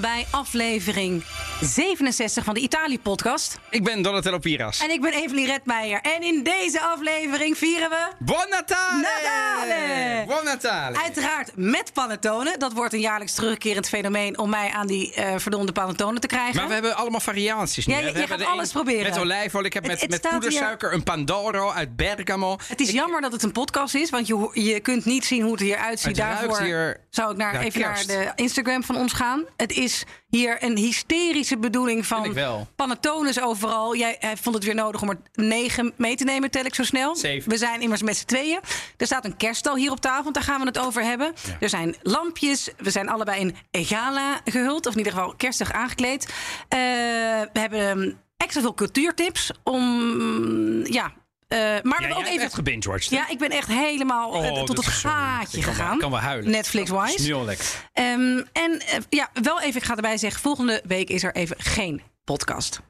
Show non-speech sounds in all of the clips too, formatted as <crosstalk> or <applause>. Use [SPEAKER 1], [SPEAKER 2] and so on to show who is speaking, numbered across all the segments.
[SPEAKER 1] bij aflevering 67 van de Italië-podcast.
[SPEAKER 2] Ik ben Donatello Piras.
[SPEAKER 1] En ik ben Evelien Redmeijer. En in deze aflevering vieren we...
[SPEAKER 2] Buon Natale!
[SPEAKER 1] Natale!
[SPEAKER 2] Buon Natale!
[SPEAKER 1] Uiteraard met panettone. Dat wordt een jaarlijks terugkerend fenomeen om mij aan die eh verdomde panettone te krijgen.
[SPEAKER 2] Maar we hebben allemaal variaties nu.
[SPEAKER 1] Ja,
[SPEAKER 2] hè?
[SPEAKER 1] je-
[SPEAKER 2] we
[SPEAKER 1] je
[SPEAKER 2] hebben
[SPEAKER 1] gaat
[SPEAKER 2] de een
[SPEAKER 1] alles proberen.
[SPEAKER 2] Met olijfolie, ik heb
[SPEAKER 1] Het-
[SPEAKER 2] met,
[SPEAKER 1] het
[SPEAKER 2] met
[SPEAKER 1] staat hier-
[SPEAKER 2] poedersuiker, een pandoro uit Bergamo.
[SPEAKER 1] Het is jammer dat het een podcast is, want je, ho- je kunt niet zien hoe het eruit ziet.
[SPEAKER 2] Het ruikt
[SPEAKER 1] Daarvoor
[SPEAKER 2] hier
[SPEAKER 1] zou ik naar,
[SPEAKER 2] naar
[SPEAKER 1] even naar
[SPEAKER 2] kerst.
[SPEAKER 1] de Instagram van ons gaan. Het is hier een hysterische bedoeling
[SPEAKER 2] ik
[SPEAKER 1] van
[SPEAKER 2] wel.
[SPEAKER 1] panettones overal. Jij hij vond het weer nodig om er negen mee te nemen, tel ik zo snel.
[SPEAKER 2] Zeven.
[SPEAKER 1] We zijn immers met z'n tweeën. Er staat een kerststal hier op tafel, want daar gaan we het over hebben. Er zijn lampjes. We zijn allebei in egala gehuld, of in ieder geval kerstig aangekleed. Eh, we hebben ehm, extra veel cultuurtips om... Ja, eh, maar we
[SPEAKER 2] Ja,
[SPEAKER 1] hebben ook
[SPEAKER 2] jij
[SPEAKER 1] even...
[SPEAKER 2] hebt gebinge
[SPEAKER 1] Ja, ik ben echt helemaal eh,
[SPEAKER 2] Oh,
[SPEAKER 1] tot
[SPEAKER 2] dat
[SPEAKER 1] het
[SPEAKER 2] is zo lekker.
[SPEAKER 1] gaatje
[SPEAKER 2] Ik kan wel-
[SPEAKER 1] gegaan.
[SPEAKER 2] ik kan wel huilen.
[SPEAKER 1] Netflix-wise.
[SPEAKER 2] is nu al lekker.
[SPEAKER 1] Ehm, en eh, ja, wel even, ik ga erbij zeggen, volgende week is er even geen podcast.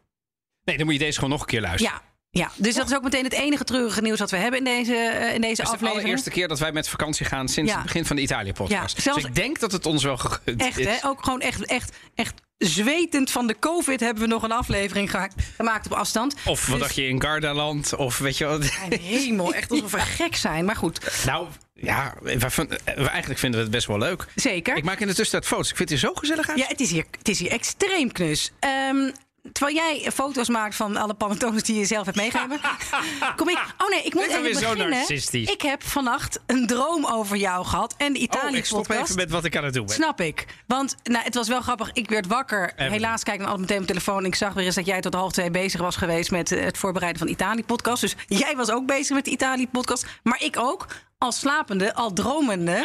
[SPEAKER 2] Nee, dan moet je deze gewoon nog een keer luisteren.
[SPEAKER 1] Ja, ja. dus dat is ook meteen het enige treurige nieuws dat we hebben in deze, eh, in deze
[SPEAKER 2] Het is de
[SPEAKER 1] aflevering.
[SPEAKER 2] allereerste keer dat wij met vakantie gaan sinds
[SPEAKER 1] Ja.
[SPEAKER 2] het begin van de Italië-podcast.
[SPEAKER 1] Ja, zelfs-
[SPEAKER 2] Dus ik denk dat het ons wel gegund
[SPEAKER 1] Echt,
[SPEAKER 2] is.
[SPEAKER 1] hè? Ook gewoon echt, echt, echt zwetend van de COVID hebben we nog een aflevering geha- gemaakt op afstand.
[SPEAKER 2] Of wat
[SPEAKER 1] Dus-
[SPEAKER 2] dacht je, in Gardaland? Of weet je wat? <laughs>
[SPEAKER 1] Mijn hemel, echt alsof we gek zijn. Maar goed,
[SPEAKER 2] Nou, ja, we, vond- we- eigenlijk vinden we het best wel leuk.
[SPEAKER 1] zeker.
[SPEAKER 2] Ik maak in de tussentijd foto's. Ik vind het hier zo gezellig uit.
[SPEAKER 1] Ja, het is hier, het is hier extreem knus. Ehm, Terwijl jij foto's maakt van alle panettones die je zelf hebt
[SPEAKER 2] <laughs>
[SPEAKER 1] meegegeven. Kom ik. Oh nee, ik moet
[SPEAKER 2] Dit is
[SPEAKER 1] even
[SPEAKER 2] weer zo
[SPEAKER 1] beginnen.
[SPEAKER 2] narcistisch.
[SPEAKER 1] Ik heb vannacht een droom over jou gehad en de
[SPEAKER 2] oh,
[SPEAKER 1] Italië
[SPEAKER 2] ik stop even met wat ik aan het doen ben.
[SPEAKER 1] Snap ik. Want nou, het was wel grappig. Ik werd wakker.
[SPEAKER 2] Evelyn.
[SPEAKER 1] Helaas kijk ik dan altijd meteen op mijn telefoon. En ik zag weer eens dat jij tot half twee bezig was geweest met eh, het voorbereiden van de Italië-podcast. Dus jij was ook bezig met de Italië-podcast. Maar ik ook. Al slapende, al dromende.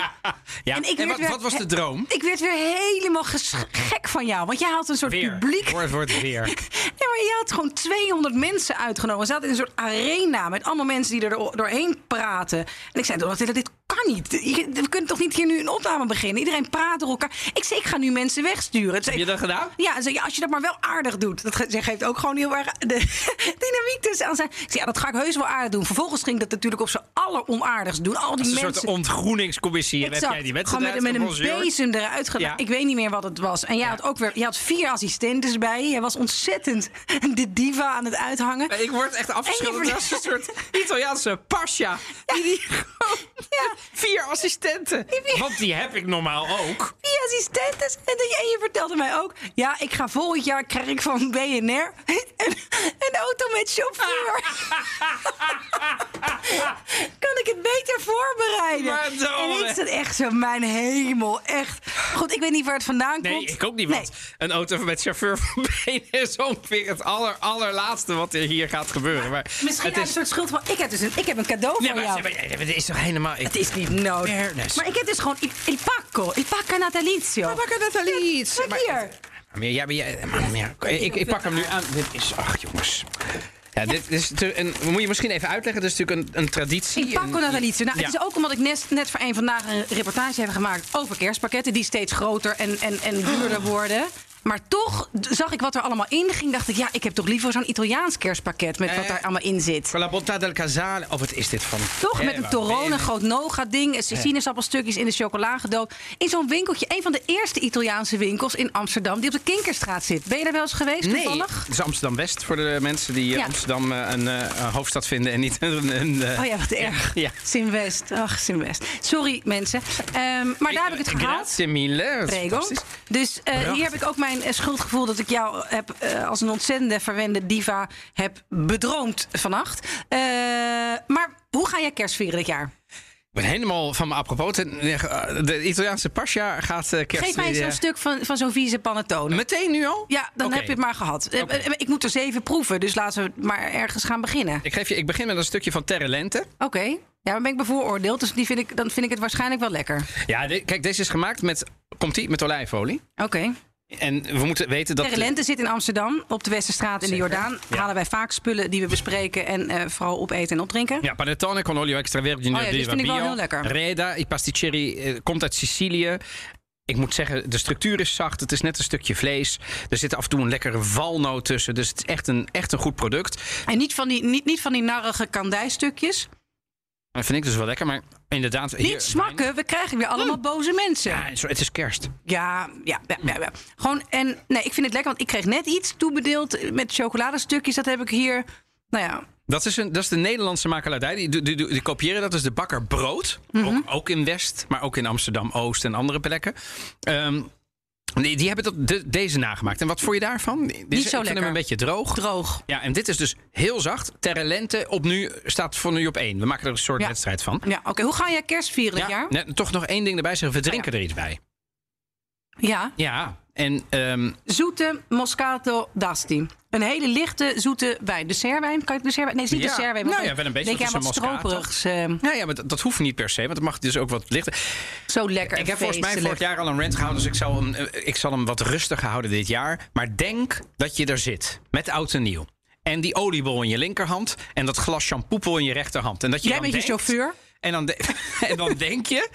[SPEAKER 2] Ja.
[SPEAKER 1] En ik werd
[SPEAKER 2] wat,
[SPEAKER 1] weer-
[SPEAKER 2] wat was de droom?
[SPEAKER 1] Ik werd weer helemaal ges- gek van jou. Want jij had een soort publiek.
[SPEAKER 2] Het woord <laughs> wordt weer.
[SPEAKER 1] Ja, maar je had gewoon 200 mensen uitgenodigd. Ze zaten in een soort arena met allemaal mensen die er door- doorheen praten. En ik zei, Donatella, dit kan niet. Je- We kunnen toch niet hier nu een opname beginnen? Iedereen praat door elkaar. Ik zei, ik ga nu mensen wegsturen. Toen
[SPEAKER 2] Heb
[SPEAKER 1] zei-
[SPEAKER 2] je dat gedaan?
[SPEAKER 1] ja, en zei, ja, als je dat maar wel aardig doet. Dat ge- ze geeft ook gewoon heel erg de <laughs> dynamiek tussen. aan. Zei- Ik zei, ja, dat ga ik heus wel aardig doen. Vervolgens ging ik dat natuurlijk op z'n alleronaardigst doen. Al die
[SPEAKER 2] Een
[SPEAKER 1] mensen...
[SPEAKER 2] soort ontgroeningscommissie. En Heb jij die
[SPEAKER 1] Gewoon
[SPEAKER 2] wedstrijd
[SPEAKER 1] met, met een
[SPEAKER 2] uitgerongeerd?
[SPEAKER 1] bezem eruit gedaan.
[SPEAKER 2] Ja.
[SPEAKER 1] Ik weet niet meer wat het was. En jij had ook weer, je had vier assistentes bij je. Jij was ontzettend <laughs> de diva aan het uithangen.
[SPEAKER 2] Nee, Ik word echt afgeschilderd
[SPEAKER 1] En je
[SPEAKER 2] als een soort Italiaanse pasja. Die, die gewoon-
[SPEAKER 1] <laughs> Ja.
[SPEAKER 2] Vier assistenten.
[SPEAKER 1] vier-
[SPEAKER 2] Want die heb ik normaal ook.
[SPEAKER 1] Vier assistentes. En, dat- en je vertelde mij ook, ja, ik ga volgend jaar krijg ik van BNR <laughs> een, een auto met chauffeur. <laughs> kan ik het beter voorbereiden?
[SPEAKER 2] Maar domme.
[SPEAKER 1] en ik zat echt zo, mijn hemel, echt. Goed, ik weet niet waar het vandaan
[SPEAKER 2] Nee,
[SPEAKER 1] komt.
[SPEAKER 2] ik ook niet.
[SPEAKER 1] Nee.
[SPEAKER 2] Want een auto met chauffeur <laughs> van benen is ongeveer het aller, allerlaatste wat er hier gaat gebeuren. Maar
[SPEAKER 1] Misschien
[SPEAKER 2] het
[SPEAKER 1] uit een
[SPEAKER 2] is.
[SPEAKER 1] soort schuld van, ik heb dus een, ik heb een cadeau
[SPEAKER 2] Nee,
[SPEAKER 1] voor
[SPEAKER 2] maar,
[SPEAKER 1] jou.
[SPEAKER 2] maar- maar- het is toch helemaal.
[SPEAKER 1] Het is niet nodig.
[SPEAKER 2] Fairness.
[SPEAKER 1] Maar ik heb dus gewoon il, il pacco, il pacco natalizio.
[SPEAKER 2] Oh, dat al iets.
[SPEAKER 1] Kijk hier.
[SPEAKER 2] Maar ja, maar jij- maar- maar ja, ik, ik pak hem nu aan. Dit is, ach jongens. Ja, dit is te- een, moet je misschien even uitleggen. Dit is natuurlijk een, een traditie.
[SPEAKER 1] Il pacco
[SPEAKER 2] een-
[SPEAKER 1] natalizio. Nou, het
[SPEAKER 2] Ja.
[SPEAKER 1] is ook omdat ik net, net voor één vandaag een reportage heb gemaakt over kerstpakketten die steeds groter en, en, en duurder worden. Maar toch d- zag ik wat er allemaal in ging. Dacht ik, ja, ik heb toch liever zo'n Italiaans kerstpakket met wat
[SPEAKER 2] Eh.
[SPEAKER 1] daar allemaal in zit.
[SPEAKER 2] Con la bontà del casale. Oh, wat is dit van?
[SPEAKER 1] Toch met
[SPEAKER 2] Eh,
[SPEAKER 1] een
[SPEAKER 2] waar
[SPEAKER 1] torone,
[SPEAKER 2] ben
[SPEAKER 1] een
[SPEAKER 2] je?
[SPEAKER 1] groot noga-ding, eh, sinaasappelstukjes in de chocola gedoopt. In zo'n winkeltje, een van de eerste Italiaanse winkels in Amsterdam, die op de Kinkerstraat zit. Ben je daar wel eens geweest
[SPEAKER 2] Nee,
[SPEAKER 1] toevallig?
[SPEAKER 2] het is Amsterdam-West voor de mensen die eh,
[SPEAKER 1] Ja.
[SPEAKER 2] Amsterdam eh, een eh, hoofdstad vinden en niet <laughs> een... een eh,
[SPEAKER 1] Oh ja, wat erg.
[SPEAKER 2] Ja.
[SPEAKER 1] Sim-West. Ach, Sim-West. Sorry, mensen. Ehm, maar daar heb ik het gehaald.
[SPEAKER 2] Grazie mille. Dat is
[SPEAKER 1] Prego.
[SPEAKER 2] Eh, fantastisch.
[SPEAKER 1] Dus eh,
[SPEAKER 2] Prachtig.
[SPEAKER 1] hier heb ik ook mijn eh, schuldgevoel dat ik jou heb, eh, als een ontzettende verwende diva heb bedroomd vannacht. Eh, maar hoe ga jij kerst vieren dit jaar?
[SPEAKER 2] Ik ben helemaal van me apropos. eh, De Italiaanse pasja gaat eh, kerst...
[SPEAKER 1] Geef mij zo'n
[SPEAKER 2] eh,
[SPEAKER 1] stuk van, van zo'n vieze panettone.
[SPEAKER 2] Meteen nu al?
[SPEAKER 1] Ja, dan
[SPEAKER 2] Oké.
[SPEAKER 1] heb je het maar gehad. Eh,
[SPEAKER 2] Oké.
[SPEAKER 1] eh, Ik moet er zeven proeven, dus laten we maar ergens gaan beginnen.
[SPEAKER 2] Ik, geef je, ik begin met een stukje van Terre Lente.
[SPEAKER 1] Oké. Ja, dan ben ik bevooroordeeld, dus die vind ik, dan vind ik het waarschijnlijk wel lekker.
[SPEAKER 2] Ja, de- kijk, deze is gemaakt met... Komt-ie? Met olijfolie.
[SPEAKER 1] Oké.
[SPEAKER 2] En we moeten weten dat...
[SPEAKER 1] Terre Lente zit in Amsterdam, op de Westerstraat in de
[SPEAKER 2] Zeker,
[SPEAKER 1] Jordaan.
[SPEAKER 2] ja.
[SPEAKER 1] Halen wij vaak spullen die we bespreken en eh, vooral opeten en opdrinken.
[SPEAKER 2] Ja, panettone con olio extravergine
[SPEAKER 1] Oh ja,
[SPEAKER 2] di
[SPEAKER 1] dit vind ik wel
[SPEAKER 2] Rabio.
[SPEAKER 1] heel lekker.
[SPEAKER 2] Reda, i pasticceri, eh, komt uit Sicilië. Ik moet zeggen, de structuur is zacht. Het is net een stukje vlees. Er zit af en toe een lekkere walnoot tussen. Dus het is echt een, echt een goed product.
[SPEAKER 1] En niet van die, niet, niet van die narrige kandijstukjes.
[SPEAKER 2] Dat vind ik dus wel lekker, maar inderdaad... hier- Hm.
[SPEAKER 1] Niet smakken, we krijgen weer allemaal boze mensen.
[SPEAKER 2] Ja, zo, het is kerst.
[SPEAKER 1] Ja, ja, ja, ja, ja. Gewoon, en nee, ik vind het lekker, want ik kreeg net iets toebedeeld met chocoladestukjes. Dat heb ik hier, nou ja,
[SPEAKER 2] Dat is, een, dat is de Nederlandse makelaardij. Die, die, die- die kopiëren dat is de bakker brood.
[SPEAKER 1] Mhm.
[SPEAKER 2] ook, ook in West, maar ook in Amsterdam Oost en andere plekken. Ehm, die, die hebben dat, de- deze nagemaakt. En wat vond je daarvan? Dit is-
[SPEAKER 1] zo
[SPEAKER 2] ik vind hem
[SPEAKER 1] lekker.
[SPEAKER 2] een beetje droog.
[SPEAKER 1] droog.
[SPEAKER 2] Ja, en dit is dus heel zacht. Terre lente op nu, staat voor nu op één. We maken er een soort
[SPEAKER 1] Ja.
[SPEAKER 2] wedstrijd van.
[SPEAKER 1] Ja, oké. Hoe ga jij kerst vieren dit
[SPEAKER 2] Ja,
[SPEAKER 1] jaar? Oh
[SPEAKER 2] net- toch nog één ding erbij zeggen. We drinken er iets bij.
[SPEAKER 1] Ja,
[SPEAKER 2] Ja, en ehm,
[SPEAKER 1] zoete Moscato d'Asti. Een hele lichte, zoete wijn. Dessertwijn? Kan je het dessertwijn? Nee, het is niet
[SPEAKER 2] Ja.
[SPEAKER 1] dessertwijn.
[SPEAKER 2] Nou
[SPEAKER 1] want
[SPEAKER 2] ja, wel een beetje,
[SPEAKER 1] Denk jij
[SPEAKER 2] want
[SPEAKER 1] wat
[SPEAKER 2] het is een Moscato.
[SPEAKER 1] stroperigs. eh,
[SPEAKER 2] nou ja, maar dat, dat hoeft niet per se. Want het mag dus ook wat lichter.
[SPEAKER 1] zo lekker
[SPEAKER 2] Ik heb
[SPEAKER 1] en
[SPEAKER 2] volgens mij vorig
[SPEAKER 1] feestelijk.
[SPEAKER 2] jaar al een rant gehouden, dus ik zal, hem, eh, ik zal hem wat rustiger houden dit jaar. Maar denk dat je er zit, met oud en nieuw. En die oliebol in je linkerhand en dat glas shampoopel in je rechterhand. En dat je
[SPEAKER 1] Jij
[SPEAKER 2] dan
[SPEAKER 1] bent je
[SPEAKER 2] denkt-
[SPEAKER 1] chauffeur.
[SPEAKER 2] En dan, de- <laughs> en dan denk je...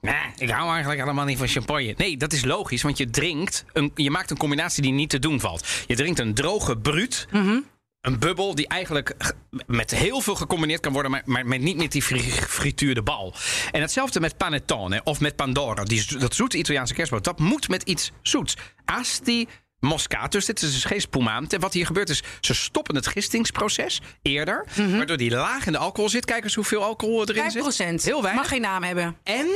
[SPEAKER 2] Nee, ik hou eigenlijk helemaal niet van champagne. Nee, dat is logisch, want je drinkt... Een, je maakt een combinatie die niet te doen valt. Je drinkt een droge bruut...
[SPEAKER 1] Mhm.
[SPEAKER 2] Een bubbel die eigenlijk g- met heel veel gecombineerd kan worden, maar, maar met niet met die fri- frituurde bal. En hetzelfde met panettone of met pandoro, die, zo- dat zoete Italiaanse kerstboot. Dat moet met iets zoets. Asti moscato, dus dit is dus geen spumaant. En wat hier gebeurt is, ze stoppen het gistingsproces eerder,
[SPEAKER 1] Mhm.
[SPEAKER 2] waardoor die laag in de alcohol zit. Kijk eens hoeveel alcohol erin zit.
[SPEAKER 1] 5 procent.
[SPEAKER 2] Heel weinig.
[SPEAKER 1] Mag geen naam hebben.
[SPEAKER 2] En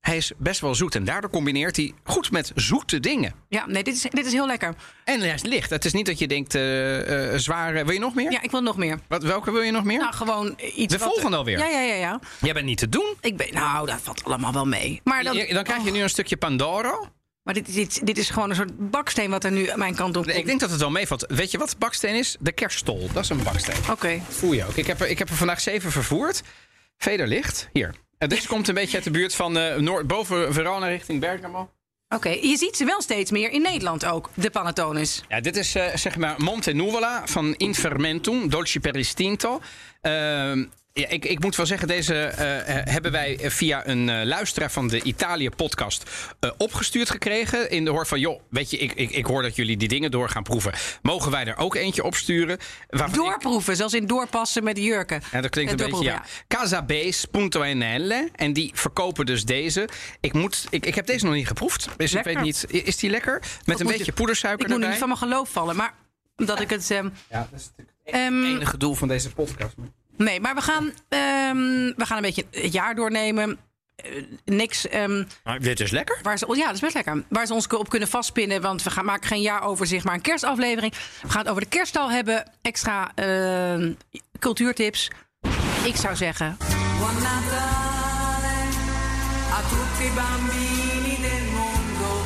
[SPEAKER 2] hij is best wel zoet en daardoor combineert hij goed met zoete dingen.
[SPEAKER 1] Ja, nee, dit is, dit is heel lekker.
[SPEAKER 2] En hij is licht. Het is niet dat je denkt, eh, eh, zwaar. eh, Wil je nog meer?
[SPEAKER 1] Ja, ik wil nog meer.
[SPEAKER 2] Wat, welke wil je nog meer?
[SPEAKER 1] Nou, gewoon iets
[SPEAKER 2] De
[SPEAKER 1] wat- eh,
[SPEAKER 2] volgende alweer.
[SPEAKER 1] Ja, ja, ja, ja.
[SPEAKER 2] Jij bent niet te doen.
[SPEAKER 1] Ik ben, nou, dat valt allemaal wel mee. Maar, dan,
[SPEAKER 2] Je- Dan krijg je nu een stukje Pandoro.
[SPEAKER 1] maar dit, dit, dit is gewoon een soort baksteen wat er nu aan mijn kant op komt.
[SPEAKER 2] Ik denk dat het wel meevalt. Weet je wat baksteen is? De kerststol. Dat is een baksteen.
[SPEAKER 1] Oké.
[SPEAKER 2] Voel je ook. Ik heb er, ik heb er vandaag zeven vervoerd. Vederlicht. Hier. En deze komt een beetje uit de buurt van eh, Noord, boven Verona richting Bergamo.
[SPEAKER 1] Oké, je ziet ze wel steeds meer in Nederland ook, de panettones.
[SPEAKER 2] Ja, dit is eh, zeg maar Monte Nuvola van Infermentum, Dolce per Istinto. Ehm, ja, ik, ik moet wel zeggen, deze eh, eh, hebben wij via een eh, luisteraar van de Italië-podcast eh, opgestuurd gekregen. In de hoor van, joh, weet je, ik, ik, ik hoor dat jullie die dingen door gaan proeven. Mogen wij er ook eentje opsturen? Waarvan ik-
[SPEAKER 1] Doorproeven, zoals in doorpassen met jurken.
[SPEAKER 2] ja, dat klinkt
[SPEAKER 1] Eh,
[SPEAKER 2] een beetje, ja.
[SPEAKER 1] doorproeven,
[SPEAKER 2] Casabase.nl. En die verkopen dus deze. Ik, moet, ik, ik heb deze nog niet geproefd. Dus ik
[SPEAKER 1] Lekker.
[SPEAKER 2] weet niet, i- is die lekker? Met een
[SPEAKER 1] moet
[SPEAKER 2] beetje
[SPEAKER 1] je-
[SPEAKER 2] poedersuiker
[SPEAKER 1] Ik moet nu
[SPEAKER 2] erbij?
[SPEAKER 1] niet van mijn geloof vallen, maar omdat ik het... ehm,
[SPEAKER 2] Ja, dat is natuurlijk
[SPEAKER 1] ehm,
[SPEAKER 2] het enige doel van deze podcast.
[SPEAKER 1] nee, maar we gaan, ehm, we gaan een beetje het jaar doornemen. Eh, niks ehm,
[SPEAKER 2] Maar dit is lekker.
[SPEAKER 1] waar ze, oh ja, dat is best lekker. Waar ze ons op kunnen vastpinnen, want we gaan, maken geen jaaroverzicht, maar een kerstaflevering. We gaan het over de kerststal hebben, extra ehm, cultuurtips. Ik zou zeggen,
[SPEAKER 3] Buon Natale a tutti i bambini del mondo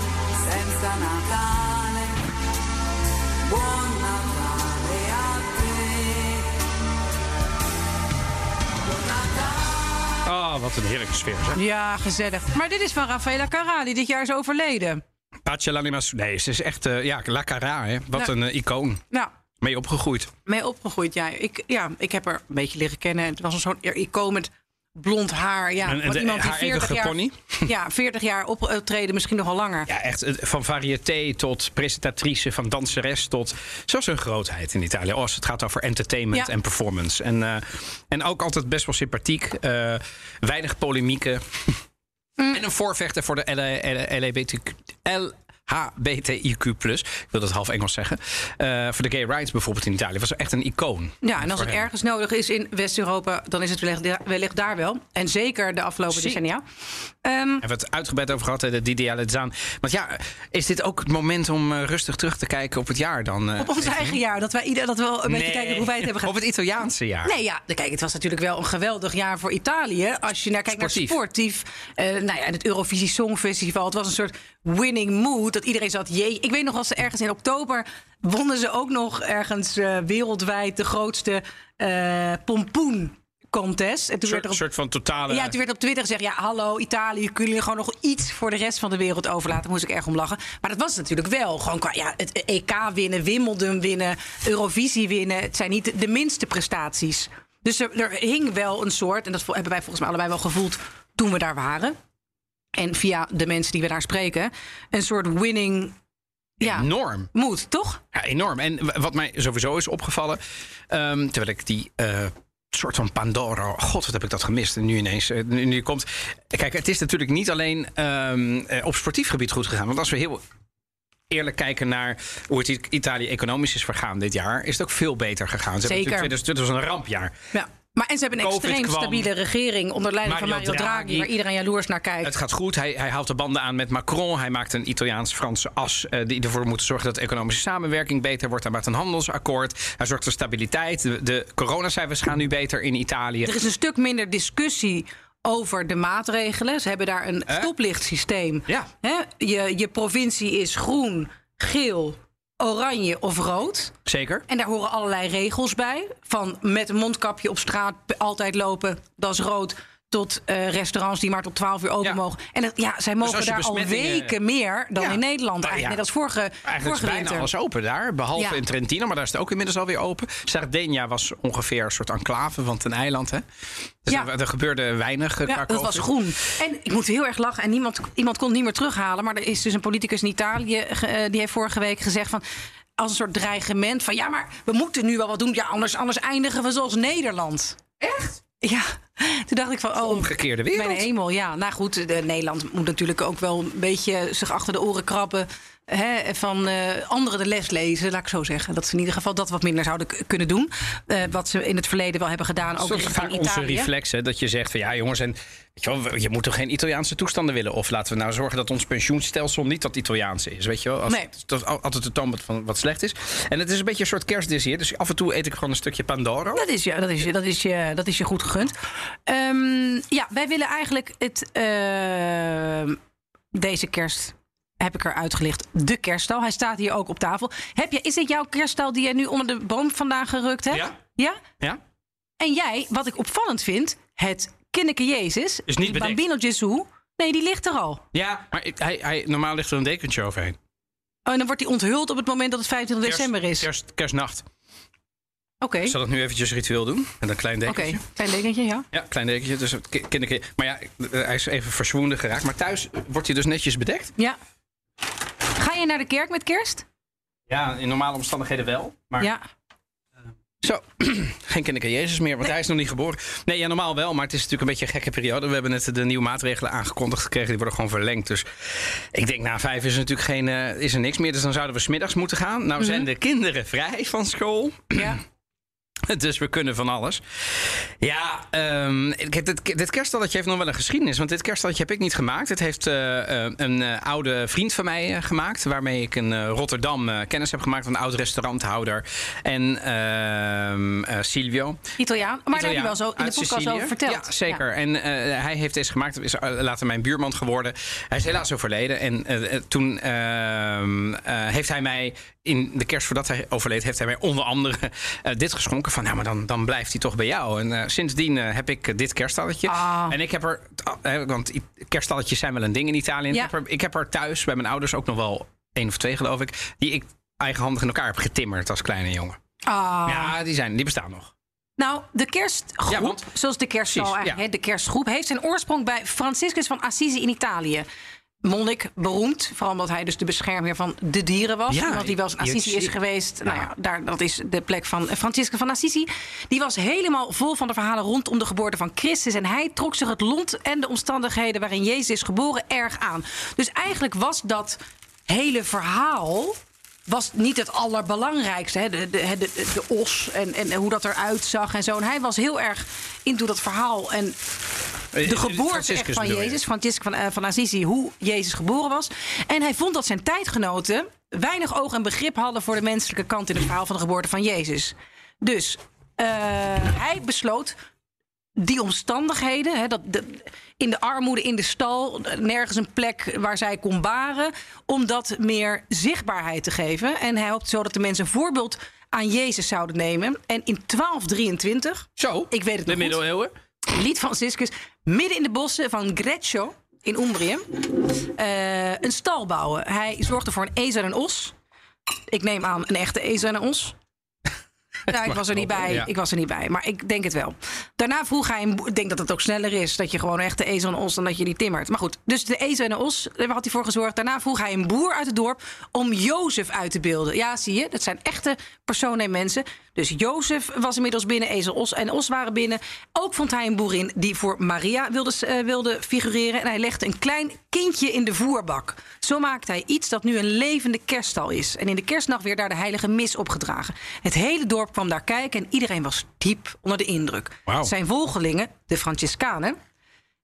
[SPEAKER 3] senza Natale. Buon Natale a te.
[SPEAKER 2] Oh, wat een heerlijke sfeer. Zeg.
[SPEAKER 1] ja, gezellig. Maar dit is van Raffaella Carrà, die dit jaar is overleden.
[SPEAKER 2] Pace l'animas. Nee, ze is echt. eh, ja, La Cara, hè? Wat
[SPEAKER 1] Nou.
[SPEAKER 2] een eh, icoon.
[SPEAKER 1] Nou,
[SPEAKER 2] Mee opgegroeid.
[SPEAKER 1] mee opgegroeid. Ja, ik, ja, ik heb haar een beetje leren kennen. Het was een soort icoon met blond haar. Ja,
[SPEAKER 2] En- en
[SPEAKER 1] van
[SPEAKER 2] de-
[SPEAKER 1] iemand die
[SPEAKER 2] haar
[SPEAKER 1] 40
[SPEAKER 2] eeuwige
[SPEAKER 1] jaar,
[SPEAKER 2] pony?
[SPEAKER 1] <laughs> Ja, 40 jaar optreden, misschien nog wel langer.
[SPEAKER 2] Ja, echt. eh, Van variété tot presentatrice, van danseres tot. Zoals een grootheid in Italië. Oh, Als het gaat over entertainment
[SPEAKER 1] Ja.
[SPEAKER 2] en performance. En, eh, en ook altijd best wel sympathiek. eh, weinig polemieken.
[SPEAKER 1] Mm.
[SPEAKER 2] En een voorvechter voor de E, LHBTQ. LHBTIQ+. Ik wil dat half Engels zeggen. Eh, voor de gay rights bijvoorbeeld in Italië. Was echt een icoon.
[SPEAKER 1] Ja, en als
[SPEAKER 2] Voor
[SPEAKER 1] het
[SPEAKER 2] hem.
[SPEAKER 1] ergens nodig is in West-Europa, dan is het wellicht, wellicht daar wel. En zeker de afgelopen
[SPEAKER 2] Zie.
[SPEAKER 1] decennia. Ehm,
[SPEAKER 2] Hebben we het uitgebreid over gehad, hè, de Didi Aledzaan. Want ja, is dit ook het moment om eh, rustig terug te kijken op het jaar dan? eh?
[SPEAKER 1] op ons eigen jaar, dat wij ieder dat wel een beetje kijken hoe wij het hebben
[SPEAKER 2] Op
[SPEAKER 1] gedaan.
[SPEAKER 2] het Italiaanse jaar.
[SPEAKER 1] Nee, ja, kijk, het was natuurlijk wel een geweldig jaar voor Italië. Als je naar kijkt
[SPEAKER 2] Sportief.
[SPEAKER 1] naar sportief. eh, nou ja, en het Eurovisie Songfestival. Het was een soort winning mood. Dat iedereen zat, jee. Ik weet nog als ze ergens in oktober wonnen ze ook nog ergens eh, wereldwijd de grootste eh pompoen contest. En toen
[SPEAKER 2] Een
[SPEAKER 1] werd
[SPEAKER 2] soort,
[SPEAKER 1] er op
[SPEAKER 2] soort van totale...
[SPEAKER 1] ja, toen werd op Twitter gezegd: ja, hallo Italië, kunnen jullie gewoon nog iets voor de rest van de wereld overlaten? Daar moest ik erg om lachen. Maar dat was het natuurlijk wel. Gewoon qua ja, het EK winnen, Wimbledon winnen, Eurovisie winnen. Het zijn niet de, de minste prestaties. Dus er, er hing wel een soort, en dat vo- hebben wij volgens mij allebei wel gevoeld toen we daar waren. En via de mensen die we daar spreken, een soort winning ja,
[SPEAKER 2] Enorm.
[SPEAKER 1] mood, toch?
[SPEAKER 2] Ja, enorm. En w- wat mij sowieso is opgevallen, ehm, terwijl ik die eh, soort van Pandora. God, wat heb ik dat gemist. En nu ineens, eh, nu, nu komt... Kijk, het is natuurlijk niet alleen ehm, eh, op sportief gebied goed gegaan. Want als we heel eerlijk kijken naar hoe het I- Italië economisch is vergaan dit jaar... is het ook veel beter gegaan. Ze hebben
[SPEAKER 1] Zeker.
[SPEAKER 2] natuurlijk 2020 was een rampjaar.
[SPEAKER 1] Ja. Maar en ze hebben een
[SPEAKER 2] Covid
[SPEAKER 1] extreem
[SPEAKER 2] kwam.
[SPEAKER 1] stabiele regering onder leiding van
[SPEAKER 2] Mario
[SPEAKER 1] Mario Draghi,
[SPEAKER 2] Draghi.
[SPEAKER 1] waar iedereen jaloers naar kijkt.
[SPEAKER 2] Het gaat goed. Hij, hij haalt de banden aan met Macron. Hij maakt een Italiaans-Franse as eh, die ervoor moet zorgen dat de economische samenwerking beter wordt. Hij maakt een handelsakkoord. Hij zorgt voor stabiliteit. De, de coronacijfers gaan nu beter in Italië.
[SPEAKER 1] Er is een stuk minder discussie over de maatregelen. Ze hebben daar een stoplichtsysteem.
[SPEAKER 2] Ja.
[SPEAKER 1] Hè? Je, je provincie is groen, geel, oranje of rood.
[SPEAKER 2] Zeker.
[SPEAKER 1] En daar horen allerlei regels bij. Van met een mondkapje op straat altijd lopen, dat is rood. Tot eh, restaurants die maar tot 12 uur open
[SPEAKER 2] Ja. Dus
[SPEAKER 1] mogen. En dat- ja, zij mogen
[SPEAKER 2] als je
[SPEAKER 1] daar al
[SPEAKER 2] besmettingen-
[SPEAKER 1] weken meer dan
[SPEAKER 2] Ja.
[SPEAKER 1] in Nederland.
[SPEAKER 2] Nou ja.
[SPEAKER 1] Eigenlijk net als vorige,
[SPEAKER 2] Eigenlijk
[SPEAKER 1] vorige
[SPEAKER 2] is bijna
[SPEAKER 1] winter.
[SPEAKER 2] alles open daar, behalve
[SPEAKER 1] Ja.
[SPEAKER 2] in Trentino, maar daar is het ook inmiddels alweer open. Sardinia was ongeveer een soort enclave, want een eiland, hè? Dus
[SPEAKER 1] Ja.
[SPEAKER 2] er, er gebeurde weinig. eh, qua
[SPEAKER 1] Ja, dat was
[SPEAKER 2] COVID.
[SPEAKER 1] groen. En ik moet heel erg lachen. En niemand, iemand kon het niet meer terughalen. Maar er is dus een politicus in Italië. ge- eh, die heeft vorige week gezegd van. Als een soort dreigement van. Ja, maar we moeten nu wel wat doen. Ja, anders, anders eindigen we zoals Nederland. Echt? Ja. Toen dacht ik van. Oh,
[SPEAKER 2] Omgekeerde wereld.
[SPEAKER 1] mijn hemel. Ja, nou goed. eh, Nederland moet natuurlijk ook wel een beetje zich achter de oren krabben. Hè, van eh, anderen de les lezen, laat ik zo zeggen. Dat ze in ieder geval dat wat minder zouden k- kunnen doen. Eh, wat ze in het verleden wel hebben gedaan. Ook
[SPEAKER 2] Dat is
[SPEAKER 1] richting
[SPEAKER 2] ook vaak
[SPEAKER 1] Italië.
[SPEAKER 2] onze reflex, hè? Dat je zegt van ja, jongens, en, weet je, wel, je moet toch geen Italiaanse toestanden willen? Of laten we nou zorgen dat ons pensioenstelsel niet dat Italiaanse is, weet je wel? Als,
[SPEAKER 1] Nee.
[SPEAKER 2] Dat is al- altijd de toon van wat slecht is. En het is een beetje een soort kerstdis hier. Dus af en toe eet ik gewoon een stukje Pandoro.
[SPEAKER 1] Dat is je, dat is je, dat is je, dat is je goed gegund. Ehm, ja, wij willen eigenlijk het. ehm, deze kerst heb ik er uitgelicht. De kerststal. Hij staat hier ook op tafel. Heb je, is dit jouw kerststal die jij nu onder de boom vandaan gerukt hebt?
[SPEAKER 2] Ja.
[SPEAKER 1] ja?
[SPEAKER 2] Ja?
[SPEAKER 1] En jij, wat ik opvallend vind, het kinneke Jezus.
[SPEAKER 2] Is niet
[SPEAKER 1] die
[SPEAKER 2] bedekt.
[SPEAKER 1] Bambino Gesù. Nee, die ligt er al.
[SPEAKER 2] Ja, maar ik- hij, hij, normaal ligt er een dekentje overheen.
[SPEAKER 1] Oh, en dan wordt die onthuld op het moment dat het 25 december is. Oké,
[SPEAKER 2] Kerst, kerstnacht.
[SPEAKER 1] oké.
[SPEAKER 2] Ik zal dat nu eventjes ritueel doen. Met een klein dekentje.
[SPEAKER 1] Klein dekentje, ja.
[SPEAKER 2] Ja, klein dekentje. Dus het ki- kinderke- Maar ja, eh, hij is even verzwoenden geraakt. Maar thuis wordt hij dus netjes bedekt.
[SPEAKER 1] Ja. Ga je naar de kerk met kerst?
[SPEAKER 2] Ja, in normale omstandigheden wel. Maar
[SPEAKER 1] Ja.
[SPEAKER 2] Zo, <clears throat> geen kinderen Jezus meer, want hij is nog niet geboren. Nee, ja, normaal wel, maar het is natuurlijk een beetje een gekke periode. We hebben net de nieuwe maatregelen aangekondigd gekregen. Die worden gewoon verlengd. Dus ik denk, na vijf is er natuurlijk geen, eh, is er niks meer. Dus dan zouden we smiddags moeten gaan. Nou zijn de kinderen vrij van school.
[SPEAKER 1] ja.
[SPEAKER 2] <laughs> Dus we kunnen van alles. Ja, ehm, kijk, dit, dit kerststalletje heeft nog wel een geschiedenis. Want dit kerststalletje heb ik niet gemaakt. Het heeft eh, eh, een eh, oude vriend van mij eh, gemaakt. Waarmee ik in eh, Rotterdam eh, kennis heb gemaakt. Een oud restauranthouder. En ehm, eh, Silvio.
[SPEAKER 1] Italiaan. Maar daar heb je
[SPEAKER 2] Italiaan
[SPEAKER 1] wel zo in de
[SPEAKER 2] uit
[SPEAKER 1] podcast
[SPEAKER 2] Sicilië.
[SPEAKER 1] over verteld.
[SPEAKER 2] Ja, zeker. En eh, hij heeft deze gemaakt. Is eh, later mijn buurman geworden. Hij is helaas overleden. En eh, eh, toen ehm, eh, heeft hij mij in de kerst voordat hij overleed... heeft hij mij onder andere eh, dit geschonken. Van nou, maar dan, dan blijft hij toch bij jou. En eh, sindsdien eh, heb ik eh, dit kerstalletje.
[SPEAKER 1] Ah.
[SPEAKER 2] En ik heb er... eh, want i- kerstalletjes zijn wel een ding in Italië. En
[SPEAKER 1] Ja.
[SPEAKER 2] Ik, heb er, ik heb er thuis bij mijn ouders ook nog wel één of twee, geloof ik... die ik eigenhandig in elkaar heb getimmerd als kleine jongen.
[SPEAKER 1] Ah.
[SPEAKER 2] Ja, die, zijn, die bestaan nog.
[SPEAKER 1] Nou, de kerstgroep,
[SPEAKER 2] Ja, want-
[SPEAKER 1] zoals de kerststal
[SPEAKER 2] Precies,
[SPEAKER 1] eigenlijk,
[SPEAKER 2] ja.
[SPEAKER 1] hè, de kerstgroep, heeft zijn oorsprong bij Franciscus van Assisi in Italië. Monnik, beroemd, vooral omdat hij dus de beschermheer van de dieren was.
[SPEAKER 2] Ja,
[SPEAKER 1] omdat hij wel eens in
[SPEAKER 2] je-
[SPEAKER 1] Assisi
[SPEAKER 2] je-
[SPEAKER 1] is geweest. Nou
[SPEAKER 2] Ja.
[SPEAKER 1] ja, daar, dat is de plek van eh, Franciscus van Assisi. Die was helemaal vol van de verhalen rondom de geboorte van Christus. En hij trok zich het lot en de omstandigheden waarin Jezus is geboren erg aan. Dus eigenlijk was dat hele verhaal was niet het allerbelangrijkste. Hè? De, de, hè, de, de, de os en, en hoe dat eruit zag en zo. En hij was heel erg into dat verhaal en
[SPEAKER 2] Eh,
[SPEAKER 1] de geboorte echt van Jezus, Franciscus van, eh, van Assisi, hoe Jezus geboren was. En hij vond dat zijn tijdgenoten weinig oog en begrip hadden voor de menselijke kant in het verhaal van de geboorte van Jezus. Dus eh, hij besloot die omstandigheden, hè, dat de, in de armoede, in de stal, nergens een plek waar zij kon baren, om dat meer zichtbaarheid te geven. En hij hoopte zo dat de mensen een voorbeeld aan Jezus zouden nemen. En in 1223,
[SPEAKER 2] Zo,
[SPEAKER 1] Ik weet het
[SPEAKER 2] de
[SPEAKER 1] nog goed.
[SPEAKER 2] middeleeuwen.
[SPEAKER 1] liet Franciscus midden in de bossen van Greccio in Umbrië eh, een stal bouwen. Hij zorgde voor een ezel en een os. Ik neem aan een echte ezel en een os. Ja, ik was er niet
[SPEAKER 2] kloppen,
[SPEAKER 1] bij.
[SPEAKER 2] ja.
[SPEAKER 1] Ik was er niet bij, maar ik denk het wel. Daarna vroeg hij, een boer- ik denk dat het ook sneller is dat je gewoon echt de ezel en een os dan dat je die timmert. Maar goed, dus de ezel en de os, daar had hij voor gezorgd. Daarna vroeg hij een boer uit het dorp om Jozef uit te beelden. Ja, zie je, dat zijn echte personen en mensen. Dus Jozef was inmiddels binnen, Ezel Os en Os waren binnen. Ook vond hij een boerin die voor Maria wilde, eh, wilde figureren. En hij legde een klein kindje in de voerbak. Zo maakte hij iets dat nu een levende kerststal is. En in de kerstnacht weer daar de heilige mis opgedragen. Het hele dorp kwam daar kijken en iedereen was diep onder de indruk.
[SPEAKER 2] Wauw.
[SPEAKER 1] Zijn volgelingen, de Franciscanen,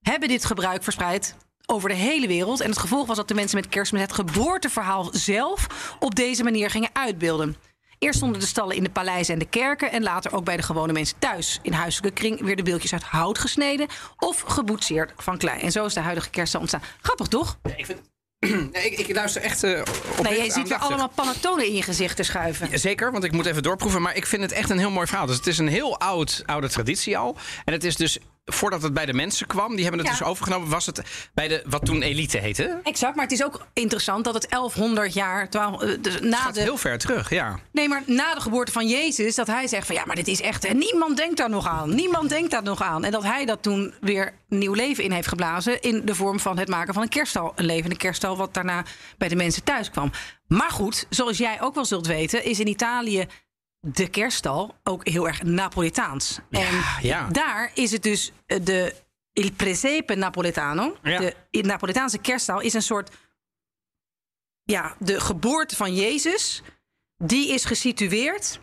[SPEAKER 1] hebben dit gebruik verspreid over de hele wereld. En het gevolg was dat de mensen met kerstmis het geboorteverhaal zelf op deze manier gingen uitbeelden. Eerst stonden de stallen in de paleizen en de kerken en later ook bij de gewone mensen thuis. In huiselijke kring werden beeldjes uit hout gesneden of geboetseerd van klei. En zo is de huidige kerststal ontstaan. Grappig toch?
[SPEAKER 2] Ik, vind... <clears throat> nee, ik, ik luister echt eh, op
[SPEAKER 1] Nee, je ziet weer allemaal panettonen in je gezicht te schuiven.
[SPEAKER 2] Zeker, want ik moet even doorproeven. Maar ik vind het echt een heel mooi verhaal. Dus het is een heel oud, oude traditie al. En het is dus, voordat het bij de mensen kwam, die hebben het
[SPEAKER 1] Ja.
[SPEAKER 2] dus overgenomen, was het bij de, wat toen elite heette. Het
[SPEAKER 1] Exact, maar het is ook interessant dat het 1100 jaar 12, eh, dus na
[SPEAKER 2] gaat
[SPEAKER 1] de
[SPEAKER 2] heel ver terug, ja.
[SPEAKER 1] Nee, maar na de geboorte van Jezus, dat hij zegt van ja, maar dit is echt. En niemand denkt daar nog aan. Niemand denkt daar nog aan. En dat hij dat toen weer nieuw leven in heeft geblazen. In de vorm van het maken van een kerststal. Een levende kerststal, wat daarna bij de mensen thuis kwam. Maar goed, zoals jij ook wel zult weten, is in Italië de kerststal ook heel erg Napolitaans. en
[SPEAKER 2] ja.
[SPEAKER 1] daar is het dus eh, de Il Presepe Napoletano.
[SPEAKER 2] Ja.
[SPEAKER 1] De Napoletaanse kerststal is een soort. Ja, de geboorte van Jezus die is gesitueerd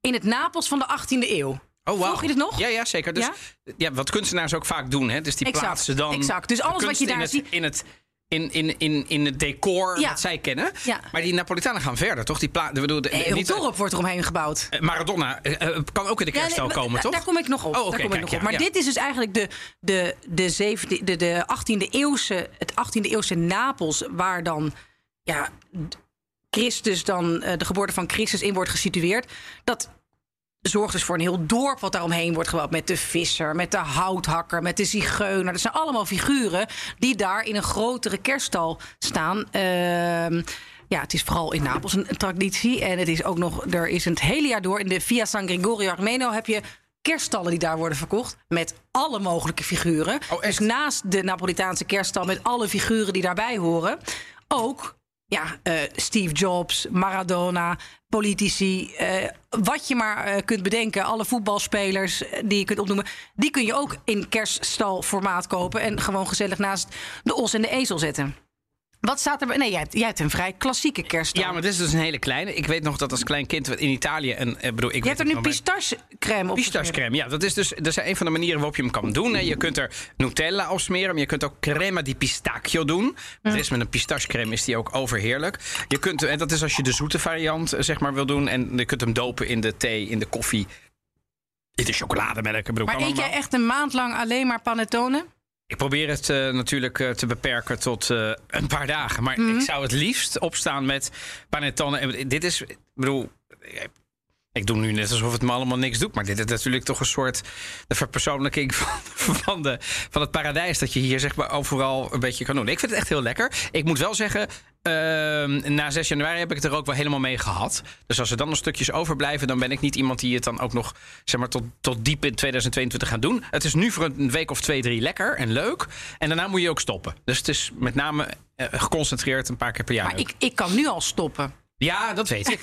[SPEAKER 1] in het Napels van de 18e eeuw.
[SPEAKER 2] Oh, wauw.
[SPEAKER 1] Volg je dit nog?
[SPEAKER 2] Ja, ja zeker. Dus, ja?
[SPEAKER 1] Ja?
[SPEAKER 2] wat kunstenaars ook vaak doen. Hè? Dus die
[SPEAKER 1] Exact,
[SPEAKER 2] plaatsen dan.
[SPEAKER 1] exact. Dus
[SPEAKER 2] de
[SPEAKER 1] alles wat
[SPEAKER 2] kunst
[SPEAKER 1] je
[SPEAKER 2] in
[SPEAKER 1] daar
[SPEAKER 2] het-
[SPEAKER 1] ziet-
[SPEAKER 2] In het, in, in, in, in het decor
[SPEAKER 1] Ja.
[SPEAKER 2] dat zij kennen.
[SPEAKER 1] Ja.
[SPEAKER 2] Maar die Napolitanen gaan verder, toch? Die pla- ik bedoel, de,
[SPEAKER 1] Een heel
[SPEAKER 2] niet-
[SPEAKER 1] dorp wordt eromheen gebouwd.
[SPEAKER 2] eh, Maradona eh, eh, kan ook in
[SPEAKER 1] Ja, nee,
[SPEAKER 2] de kerststal
[SPEAKER 1] maar
[SPEAKER 2] komen,
[SPEAKER 1] da-
[SPEAKER 2] toch?
[SPEAKER 1] Daar kom ik nog op.
[SPEAKER 2] Oh,
[SPEAKER 1] daar
[SPEAKER 2] oké,
[SPEAKER 1] kom
[SPEAKER 2] kijk,
[SPEAKER 1] ik nog
[SPEAKER 2] ja,
[SPEAKER 1] op. Maar
[SPEAKER 2] ja.
[SPEAKER 1] dit is dus eigenlijk de, de, de, zevende, de, de 18e eeuwse, het 18e eeuwse Napels, waar dan ja, d- Christus dan, eh, de geboorte van Christus in wordt gesitueerd. Dat zorgt dus voor een heel dorp wat daaromheen wordt gebouwd. Met de visser, met de houthakker, met de zigeuner. Dat zijn allemaal figuren die daar in een grotere kerststal staan. Ehm, ja, het is vooral in Napels een traditie. En het is ook nog, er is het hele jaar door in de Via San Gregorio Armeno heb je kerststallen die daar worden verkocht. Met alle mogelijke figuren.
[SPEAKER 2] Oh, echt?
[SPEAKER 1] Dus naast de Napolitaanse kerststal met alle figuren die daarbij horen. Ook ja, eh, Steve Jobs, Maradona, politici, eh, wat je maar eh, kunt bedenken. Alle voetbalspelers eh, die je kunt opnoemen, die kun je ook in kerststalformaat kopen en gewoon gezellig naast de os en de ezel zetten. Wat staat er? Nee, jij hebt, jij hebt een vrij klassieke kerststal.
[SPEAKER 2] Ja, maar dit is dus een hele kleine. Ik weet nog dat als klein kind in Italië. En, eh, bedoel, ik
[SPEAKER 1] je
[SPEAKER 2] weet
[SPEAKER 1] hebt er
[SPEAKER 2] het
[SPEAKER 1] nu
[SPEAKER 2] nog bij-
[SPEAKER 1] pistachecrème op. gesmeerd.
[SPEAKER 2] Pistachecrème, ja, dat is dus dat is een van de manieren waarop je hem kan doen. hè. Je kunt er Nutella op smeren, maar je kunt ook crema di pistacchio
[SPEAKER 1] Mm.
[SPEAKER 2] doen. Dat is met een pistachecrème is die ook overheerlijk. Je kunt, en dat is als je de zoete variant eh, zeg maar wil doen. En je kunt hem dopen in de thee, in de koffie, in de chocolademelk. Ik, bedoel,
[SPEAKER 1] Maar
[SPEAKER 2] kan
[SPEAKER 1] eet jij
[SPEAKER 2] allemaal.
[SPEAKER 1] echt een maand lang alleen maar panettone?
[SPEAKER 2] ik probeer het eh, natuurlijk eh, te beperken tot eh, een paar dagen. Maar
[SPEAKER 1] Mm.
[SPEAKER 2] ik zou het liefst opstaan met panettone. En Dit is, ik bedoel... eh, Ik doe nu net alsof het me allemaal niks doet. Maar dit is natuurlijk toch een soort de verpersoonlijking <laughs> van, van, de, van het paradijs. Dat je hier zeg maar overal een beetje kan doen. Ik vind het echt heel lekker. Ik moet wel zeggen, ehm, na 6 januari heb ik het er ook wel helemaal mee gehad. Dus als er dan nog stukjes overblijven, dan ben ik niet iemand die het dan ook nog zeg maar, tot, tot diep in 2022 gaat doen. Het is nu voor een week of twee, drie lekker en leuk. En daarna moet je ook stoppen. Dus het is met name eh, geconcentreerd een paar keer per jaar.
[SPEAKER 1] Maar
[SPEAKER 2] leuk.
[SPEAKER 1] ik, ik kan nu al stoppen.
[SPEAKER 2] Ja, dat weet
[SPEAKER 1] <laughs>
[SPEAKER 2] ik.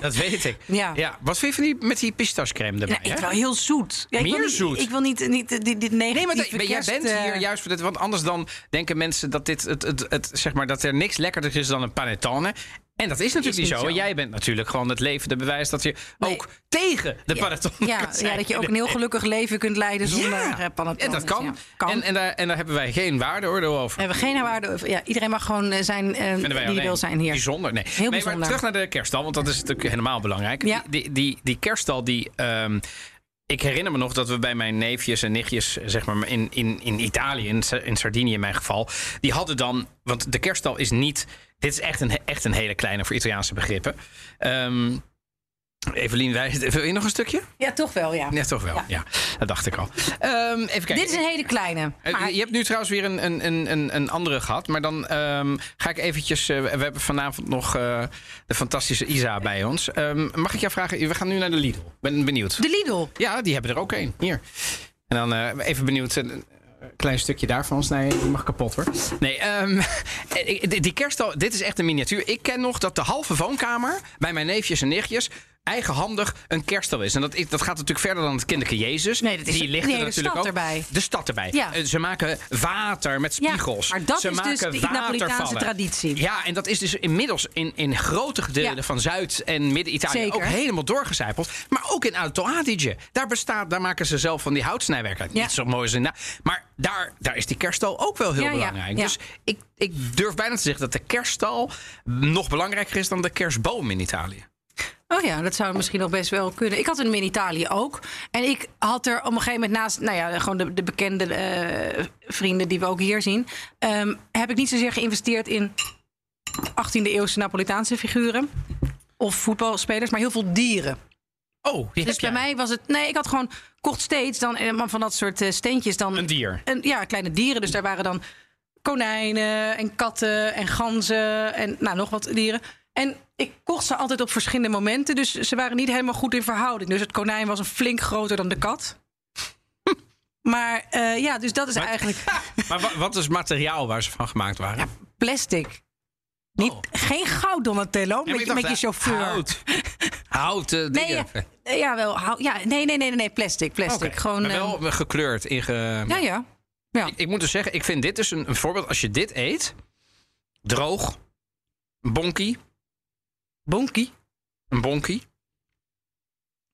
[SPEAKER 2] dat weet ik.
[SPEAKER 1] Ja.
[SPEAKER 2] Wat vind je van die, met die pistachecrème erbij?
[SPEAKER 1] Ja, ik
[SPEAKER 2] hè?
[SPEAKER 1] wel heel zoet. Ja, ik
[SPEAKER 2] Meer
[SPEAKER 1] wil niet,
[SPEAKER 2] zoet?
[SPEAKER 1] Ik wil niet, niet eh, dit, dit negatieve
[SPEAKER 2] Nee, maar, dat- maar jij
[SPEAKER 1] kerst,
[SPEAKER 2] bent
[SPEAKER 1] eh,
[SPEAKER 2] hier juist voor dit. Want anders dan denken mensen dat, dit, het, het, het, zeg maar, dat er niks lekkerder is dan een panettone. En dat is natuurlijk
[SPEAKER 1] Is
[SPEAKER 2] niet
[SPEAKER 1] niet
[SPEAKER 2] zo. En
[SPEAKER 1] zo.
[SPEAKER 2] Jij bent natuurlijk gewoon het levende bewijs dat je
[SPEAKER 1] Nee.
[SPEAKER 2] ook tegen de panettone
[SPEAKER 1] Ja,
[SPEAKER 2] kan zijn.
[SPEAKER 1] ja, dat je ook een heel gelukkig leven kunt leiden zonder
[SPEAKER 2] Ja.
[SPEAKER 1] eh, panettone.
[SPEAKER 2] En dat kan.
[SPEAKER 1] Ja, kan.
[SPEAKER 2] En, en, daar, en daar hebben wij geen waardeoordeel over.
[SPEAKER 1] hebben we geen waarde. over- Ja, iedereen mag gewoon eh, zijn eh,
[SPEAKER 2] Vinden wij
[SPEAKER 1] die
[SPEAKER 2] alleen
[SPEAKER 1] wil zijn hier.
[SPEAKER 2] Bijzonder, nee. nee, maar
[SPEAKER 1] bijzonder.
[SPEAKER 2] terug naar de kerststal, want dat is natuurlijk helemaal belangrijk.
[SPEAKER 1] Ja.
[SPEAKER 2] Die, die, die, die kerststal, die... ehm, ik herinner me nog dat we bij mijn neefjes en nichtjes, zeg maar in, in, in Italië, in, Sa- in Sardinië in mijn geval, die hadden dan, want de kerststal is niet, dit is echt een, echt een hele kleine voor Italiaanse begrippen. Ehm Evelien, wij, <laughs> wil je nog een stukje?
[SPEAKER 1] Ja, toch wel, ja.
[SPEAKER 2] Ja, toch wel. Ja, dat dacht ik al. Ehm, even kijken.
[SPEAKER 1] Dit is een hele kleine.
[SPEAKER 2] Eh,
[SPEAKER 1] Maar
[SPEAKER 2] je hebt nu trouwens weer een, een- een, een, een andere gehad. Maar dan ehm, ga ik eventjes... eh, we hebben vanavond nog eh, de fantastische Isa bij ons. Ehm, mag ik jou vragen? We gaan nu naar de Lidl. Ben benieuwd.
[SPEAKER 1] de Lidl.
[SPEAKER 2] Ja, die hebben er ook één. Hier. En dan eh, even benieuwd... eh, Een klein stukje daarvan. Nee, die mag kapot hoor. Nee, ehm, <laughs> eh, die kerststal... Dit is echt een miniatuur. Ik ken nog dat de halve woonkamer... bij mijn neefjes en nichtjes... eigenhandig een kerststal is. En dat, is- dat gaat natuurlijk verder dan het kinderke Jezus.
[SPEAKER 1] Nee, dat is
[SPEAKER 2] Die
[SPEAKER 1] de-
[SPEAKER 2] ligt
[SPEAKER 1] nee,
[SPEAKER 2] er
[SPEAKER 1] de
[SPEAKER 2] natuurlijk
[SPEAKER 1] stad
[SPEAKER 2] ook.
[SPEAKER 1] erbij.
[SPEAKER 2] De stad erbij.
[SPEAKER 1] Ja.
[SPEAKER 2] Eh, Ze maken water met
[SPEAKER 1] Ja,
[SPEAKER 2] spiegels.
[SPEAKER 1] maar dat
[SPEAKER 2] Ze
[SPEAKER 1] is dus
[SPEAKER 2] maken
[SPEAKER 1] de Napolitaanse
[SPEAKER 2] watervallen.
[SPEAKER 1] traditie.
[SPEAKER 2] Ja, en dat is dus inmiddels in, in grote gedeelten
[SPEAKER 1] Ja.
[SPEAKER 2] van Zuid- en Midden-Italië
[SPEAKER 1] Zeker.
[SPEAKER 2] ook helemaal doorgecijpeld. Maar ook in Alto Adige. Daar, bestaat, daar maken ze zelf van die houtsnijwerken.
[SPEAKER 1] Ja.
[SPEAKER 2] Niet zo mooi als in. Na- Maar daar, daar is die kerststal ook wel heel
[SPEAKER 1] Ja, ja,
[SPEAKER 2] belangrijk.
[SPEAKER 1] ja.
[SPEAKER 2] Dus ik, ik durf bijna te zeggen dat de kerststal nog belangrijker is dan de kerstboom in Italië.
[SPEAKER 1] Oh ja, dat zou misschien nog best wel kunnen. Ik had hem in Italië ook. En ik had er op een gegeven moment naast, nou ja, gewoon de, de bekende eh, vrienden die we ook hier zien, ehm, heb ik niet zozeer geïnvesteerd in 18e eeuwse Napolitaanse figuren of voetbalspelers, maar heel veel dieren.
[SPEAKER 2] Oh, die
[SPEAKER 1] Dus bij
[SPEAKER 2] heb jij.
[SPEAKER 1] mij was het, nee, ik had gewoon kocht steeds dan eh, van dat soort eh, steentjes dan
[SPEAKER 2] Een dier.
[SPEAKER 1] en ja, kleine dieren. Dus daar waren dan konijnen en katten en ganzen en nou, nog wat dieren. En ik kocht ze altijd op verschillende momenten. Dus ze waren niet helemaal goed in verhouding. Dus het konijn was een flink groter dan de kat. <laughs> Maar eh, ja, dus dat is eigenlijk
[SPEAKER 2] <laughs> Maar wa- wat is het materiaal waar ze van gemaakt waren?
[SPEAKER 1] plastic. Niet,
[SPEAKER 2] Oh.
[SPEAKER 1] Geen goud, Donatello,
[SPEAKER 2] Ja, maar
[SPEAKER 1] met,
[SPEAKER 2] ik
[SPEAKER 1] je-
[SPEAKER 2] dacht, eh,
[SPEAKER 1] met je chauffeur.
[SPEAKER 2] Hout. Hout. eh,
[SPEAKER 1] Nee, ja,
[SPEAKER 2] dingen.
[SPEAKER 1] eh, ja, wel, hout. ja, nee, nee, nee, nee, plastic. plastic.
[SPEAKER 2] Oké,
[SPEAKER 1] Gewoon,
[SPEAKER 2] maar
[SPEAKER 1] eh,
[SPEAKER 2] wel gekleurd. In ge-
[SPEAKER 1] ja, ja.
[SPEAKER 2] Ik, ik moet dus zeggen, ik vind dit dus een, een voorbeeld. Als je dit eet, droog, een bonkie,
[SPEAKER 1] Bonkie.
[SPEAKER 2] een bonkie.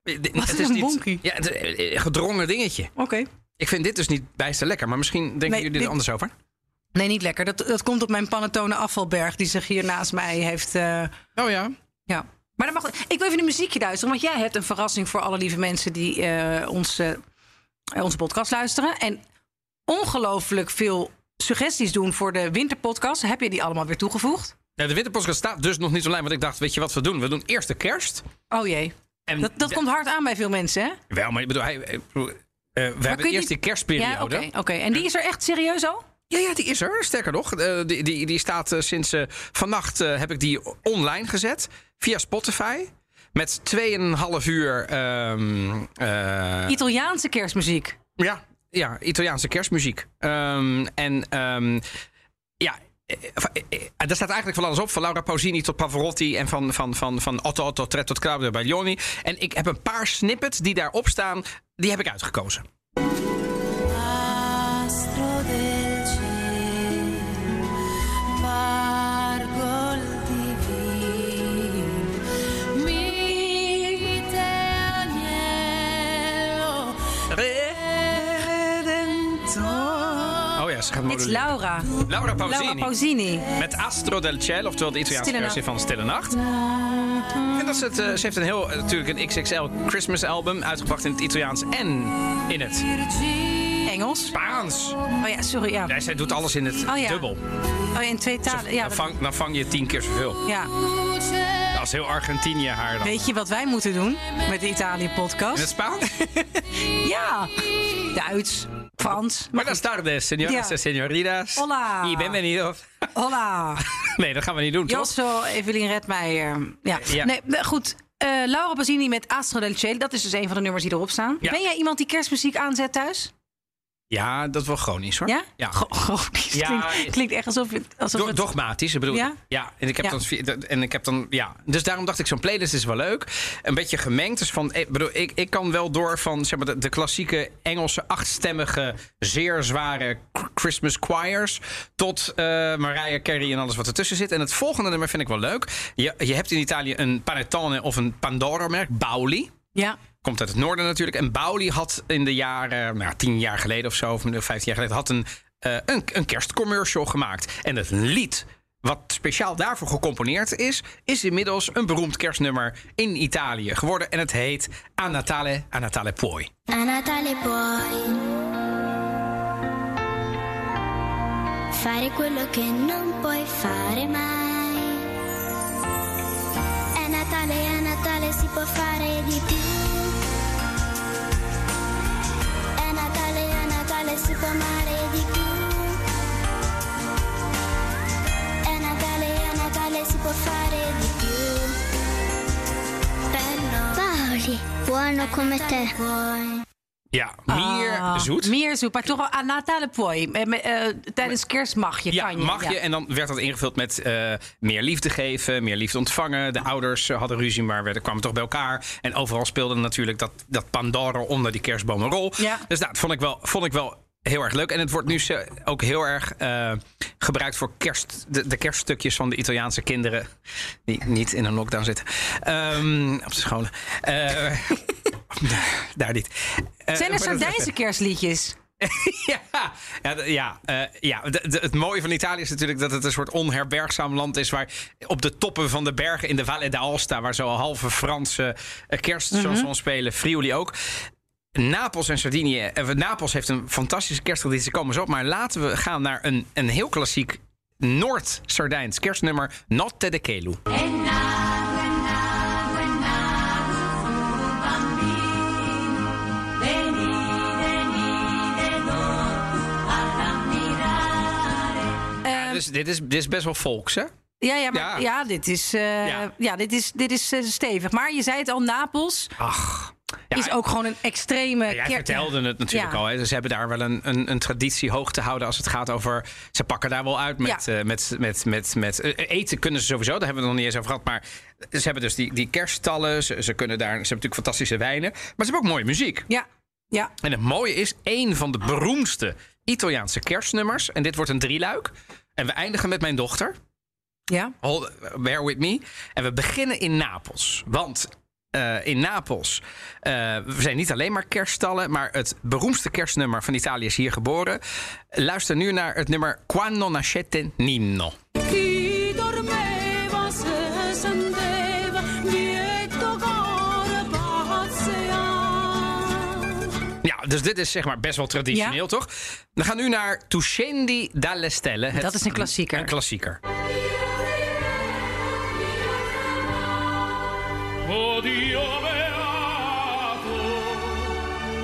[SPEAKER 2] Eh,
[SPEAKER 1] Wat is een bonkie?
[SPEAKER 2] Ja, het, eh, eh, gedrongen dingetje.
[SPEAKER 1] Oké.
[SPEAKER 2] Ik vind dit dus niet bijster lekker, maar misschien denken
[SPEAKER 1] Nee,
[SPEAKER 2] jullie er
[SPEAKER 1] dit-
[SPEAKER 2] anders over.
[SPEAKER 1] Nee, niet lekker. Dat, dat komt op mijn Panettone afvalberg die zich hier naast mij heeft. eh,
[SPEAKER 2] Oh ja.
[SPEAKER 1] ja. Maar dan mag, ik wil even een muziekje luisteren, want jij hebt een verrassing voor alle lieve mensen die eh, ons, eh, onze podcast luisteren. En ongelooflijk veel suggesties doen voor de winterpodcast. Heb je die allemaal weer toegevoegd?
[SPEAKER 2] de witte podcast staat dus nog niet online, want ik dacht, weet je wat we doen? We doen eerst de kerst.
[SPEAKER 1] Oh jee.
[SPEAKER 2] En
[SPEAKER 1] Dat, dat
[SPEAKER 2] de-
[SPEAKER 1] komt hard aan bij veel mensen, hè?
[SPEAKER 2] Wel, maar ik bedoel, hij, eh, ik bedoel, eh, we hebben
[SPEAKER 1] kun je
[SPEAKER 2] eerst die
[SPEAKER 1] niet-
[SPEAKER 2] kerstperiode.
[SPEAKER 1] Ja, oké. oké. En die is er echt serieus al?
[SPEAKER 2] Ja, ja, die is er. Sterker nog, eh, die, die, die staat eh, sinds eh, vannacht eh, heb ik die online gezet via Spotify. Met 2,5 uur. ehm, eh,
[SPEAKER 1] Italiaanse kerstmuziek.
[SPEAKER 2] ja, ja, Italiaanse kerstmuziek. Ehm, en ehm, ja. eh, eh, eh, Daar staat eigenlijk van alles op. Van Laura Pausini tot Pavarotti. En van, van, van, van Otto Otto Tret tot Claudio Baglioni. En ik heb een paar snippets die daarop staan. Die heb ik uitgekozen.
[SPEAKER 4] Astro del cielo, pargol divino, mite agnello, redentor.
[SPEAKER 2] Oh ja, ze gaat
[SPEAKER 1] Dit is
[SPEAKER 2] moduleren.
[SPEAKER 1] Laura.
[SPEAKER 2] Laura Pausini.
[SPEAKER 1] Laura Pausini.
[SPEAKER 2] Met Astro del Cielo, oftewel de Italiaanse
[SPEAKER 1] Stille
[SPEAKER 2] versie
[SPEAKER 1] Nacht.
[SPEAKER 2] van Stille Nacht. En dat is het, eh, ze heeft een heel, eh, natuurlijk een XXL Christmas album uitgebracht in het Italiaans en in het
[SPEAKER 1] Engels.
[SPEAKER 2] Spaans.
[SPEAKER 1] Oh ja, sorry. Ja.
[SPEAKER 2] Ja, zij doet alles in het
[SPEAKER 1] Oh ja.
[SPEAKER 2] dubbel.
[SPEAKER 1] Oh, in twee talen. Ja,
[SPEAKER 2] dan, vang, dan vang je tien keer zoveel.
[SPEAKER 1] ja.
[SPEAKER 2] Dat is heel Argentinië haar dan.
[SPEAKER 1] Weet je wat wij moeten doen met de
[SPEAKER 2] In het
[SPEAKER 1] Italië-podcast?
[SPEAKER 2] Spaans?
[SPEAKER 1] <laughs> Ja, Duits, Frans. Maar
[SPEAKER 2] Buenas tardes,
[SPEAKER 1] Ja.
[SPEAKER 2] señoras en señoritas.
[SPEAKER 1] Hola.
[SPEAKER 2] Y bienvenidos.
[SPEAKER 1] hola.
[SPEAKER 2] <laughs> Nee, dat gaan we niet doen, toch?
[SPEAKER 1] Josso, Evelien Redmeijer. Ja.
[SPEAKER 2] Ja.
[SPEAKER 1] Nee, nou, goed. Eh, Laura Basini met Astro del Cielo. Dat is dus een van de nummers die erop staan.
[SPEAKER 2] Ja.
[SPEAKER 1] Ben jij iemand die kerstmuziek aanzet thuis?
[SPEAKER 2] Ja, dat wel chronisch, hoor.
[SPEAKER 1] Ja?
[SPEAKER 2] Ja.
[SPEAKER 1] Go- Goh, <laughs>
[SPEAKER 2] Ja.
[SPEAKER 1] klinkt, klinkt echt alsof, je- alsof
[SPEAKER 2] Do-
[SPEAKER 1] het...
[SPEAKER 2] dogmatisch, ik bedoel. Ja,
[SPEAKER 1] Ja?
[SPEAKER 2] en, ik heb
[SPEAKER 1] Ja.
[SPEAKER 2] Dan, vi- dat- en ik heb dan. Ja, dus daarom dacht ik, zo'n playlist is wel leuk. Een beetje gemengd. Dus van, ik, bedoel, ik, ik kan wel door van zeg maar, de, de klassieke Engelse achtstemmige, zeer zware k- Christmas choirs. Tot eh Mariah Carey en alles wat ertussen zit. En het volgende nummer vind ik wel leuk. Je, je hebt in Italië een panettone of een Pandoro-merk, Bauli.
[SPEAKER 1] Ja.
[SPEAKER 2] Komt uit het noorden natuurlijk. En Bauli had in de jaren, nou, tien jaar geleden of zo, of vijftien jaar geleden, had een, eh, een, een kerstcommercial gemaakt. En het lied, wat speciaal daarvoor gecomponeerd is, is inmiddels een beroemd kerstnummer in Italië geworden. En het heet A Natale, A Natale Poi.
[SPEAKER 4] A Natale puoi fare quello che non puoi fare mai. È Natale, a Natale si può fare di più. È Natale, a Natale si può amare di più. È Natale, a Natale si può fare di più. Bello. Paoli, buono come te.
[SPEAKER 2] Ja, meer
[SPEAKER 1] Ah,
[SPEAKER 2] zoet.
[SPEAKER 1] Meer zoet, maar toch wel aan Natale Poi. Eh, me- eh, Tijdens kerst mag je,
[SPEAKER 2] ja,
[SPEAKER 1] kan je.
[SPEAKER 2] mag je.
[SPEAKER 1] ja.
[SPEAKER 2] En dan werd dat ingevuld met eh, meer liefde geven, meer liefde ontvangen. De ouders eh, hadden ruzie, maar werden, kwamen toch bij elkaar. En overal speelde natuurlijk dat, dat Pandora onder die kerstboom een rol.
[SPEAKER 1] Ja.
[SPEAKER 2] Dus dat vond ik, wel, vond ik wel heel erg leuk. En het wordt nu zo- ook heel erg eh, gebruikt voor kerst, de, de kerststukjes van de Italiaanse kinderen. Die niet in een lockdown zitten. Ehm, op de scholen. Eh, <laughs> daar niet. Eh,
[SPEAKER 1] Zijn er
[SPEAKER 2] <laughs> maar dat-
[SPEAKER 1] Sardijnse kerstliedjes?
[SPEAKER 2] <laughs> ja, ja, d- ja, eh, ja. De- de- het mooie van Italië is natuurlijk dat het een soort onherbergzaam land is. Waar op de toppen van de bergen in de Valle d'Aosta, waar zo halve Franse eh, kerstchansons spelen, Friuli ook. Napels en Sardinië. eh, Napels heeft een fantastische kersttraditie, komen zo op. Maar laten we gaan naar een, een heel klassiek Noord-Sardijns kerstnummer, Notte de Kelu. Ja, dus dit, is, dit is best wel volks, hè?
[SPEAKER 1] Ja, ja, maar,
[SPEAKER 2] Ja.
[SPEAKER 1] ja. dit is, eh,
[SPEAKER 2] Ja.
[SPEAKER 1] ja. dit is, dit is eh, stevig. Maar je zei het al, Napels
[SPEAKER 2] Ach. Ah, Ja,
[SPEAKER 1] is ook gewoon een extreme
[SPEAKER 2] Ja, Jij
[SPEAKER 1] kerk-
[SPEAKER 2] vertelde het natuurlijk
[SPEAKER 1] Ja.
[SPEAKER 2] al. Hè? Dus Ze hebben daar wel een, een, een traditie hoog te houden als het gaat over. Ze pakken daar wel uit met.
[SPEAKER 1] Ja.
[SPEAKER 2] eh, met, met, met, met eh, eten kunnen ze sowieso, daar hebben we het nog niet eens over gehad. Maar ze hebben dus die, die kersttallen. Ze, ze kunnen daar. Ze hebben natuurlijk fantastische wijnen. Maar ze hebben ook mooie muziek.
[SPEAKER 1] Ja, ja.
[SPEAKER 2] En het mooie is, één van de beroemdste Italiaanse kerstnummers. En dit wordt een drieluik. En we eindigen met mijn dochter.
[SPEAKER 1] ja.
[SPEAKER 2] Hold, bear with me. En we beginnen in Napels. Want eh, in Napels eh, we zijn niet alleen maar kerststallen, maar het beroemdste kerstnummer van Italië is hier geboren. Luister nu naar het nummer Quando nascete Nino.
[SPEAKER 5] Chi dormeva se senteva dietro cuore pazzia.
[SPEAKER 2] Ja, dus dit is zeg maar best wel traditioneel,
[SPEAKER 1] Ja.
[SPEAKER 2] toch? We gaan nu naar Tu scendi dalle stelle. Het-
[SPEAKER 1] Dat is een klassieker.
[SPEAKER 2] Een klassieker.
[SPEAKER 6] Oh Dio beato,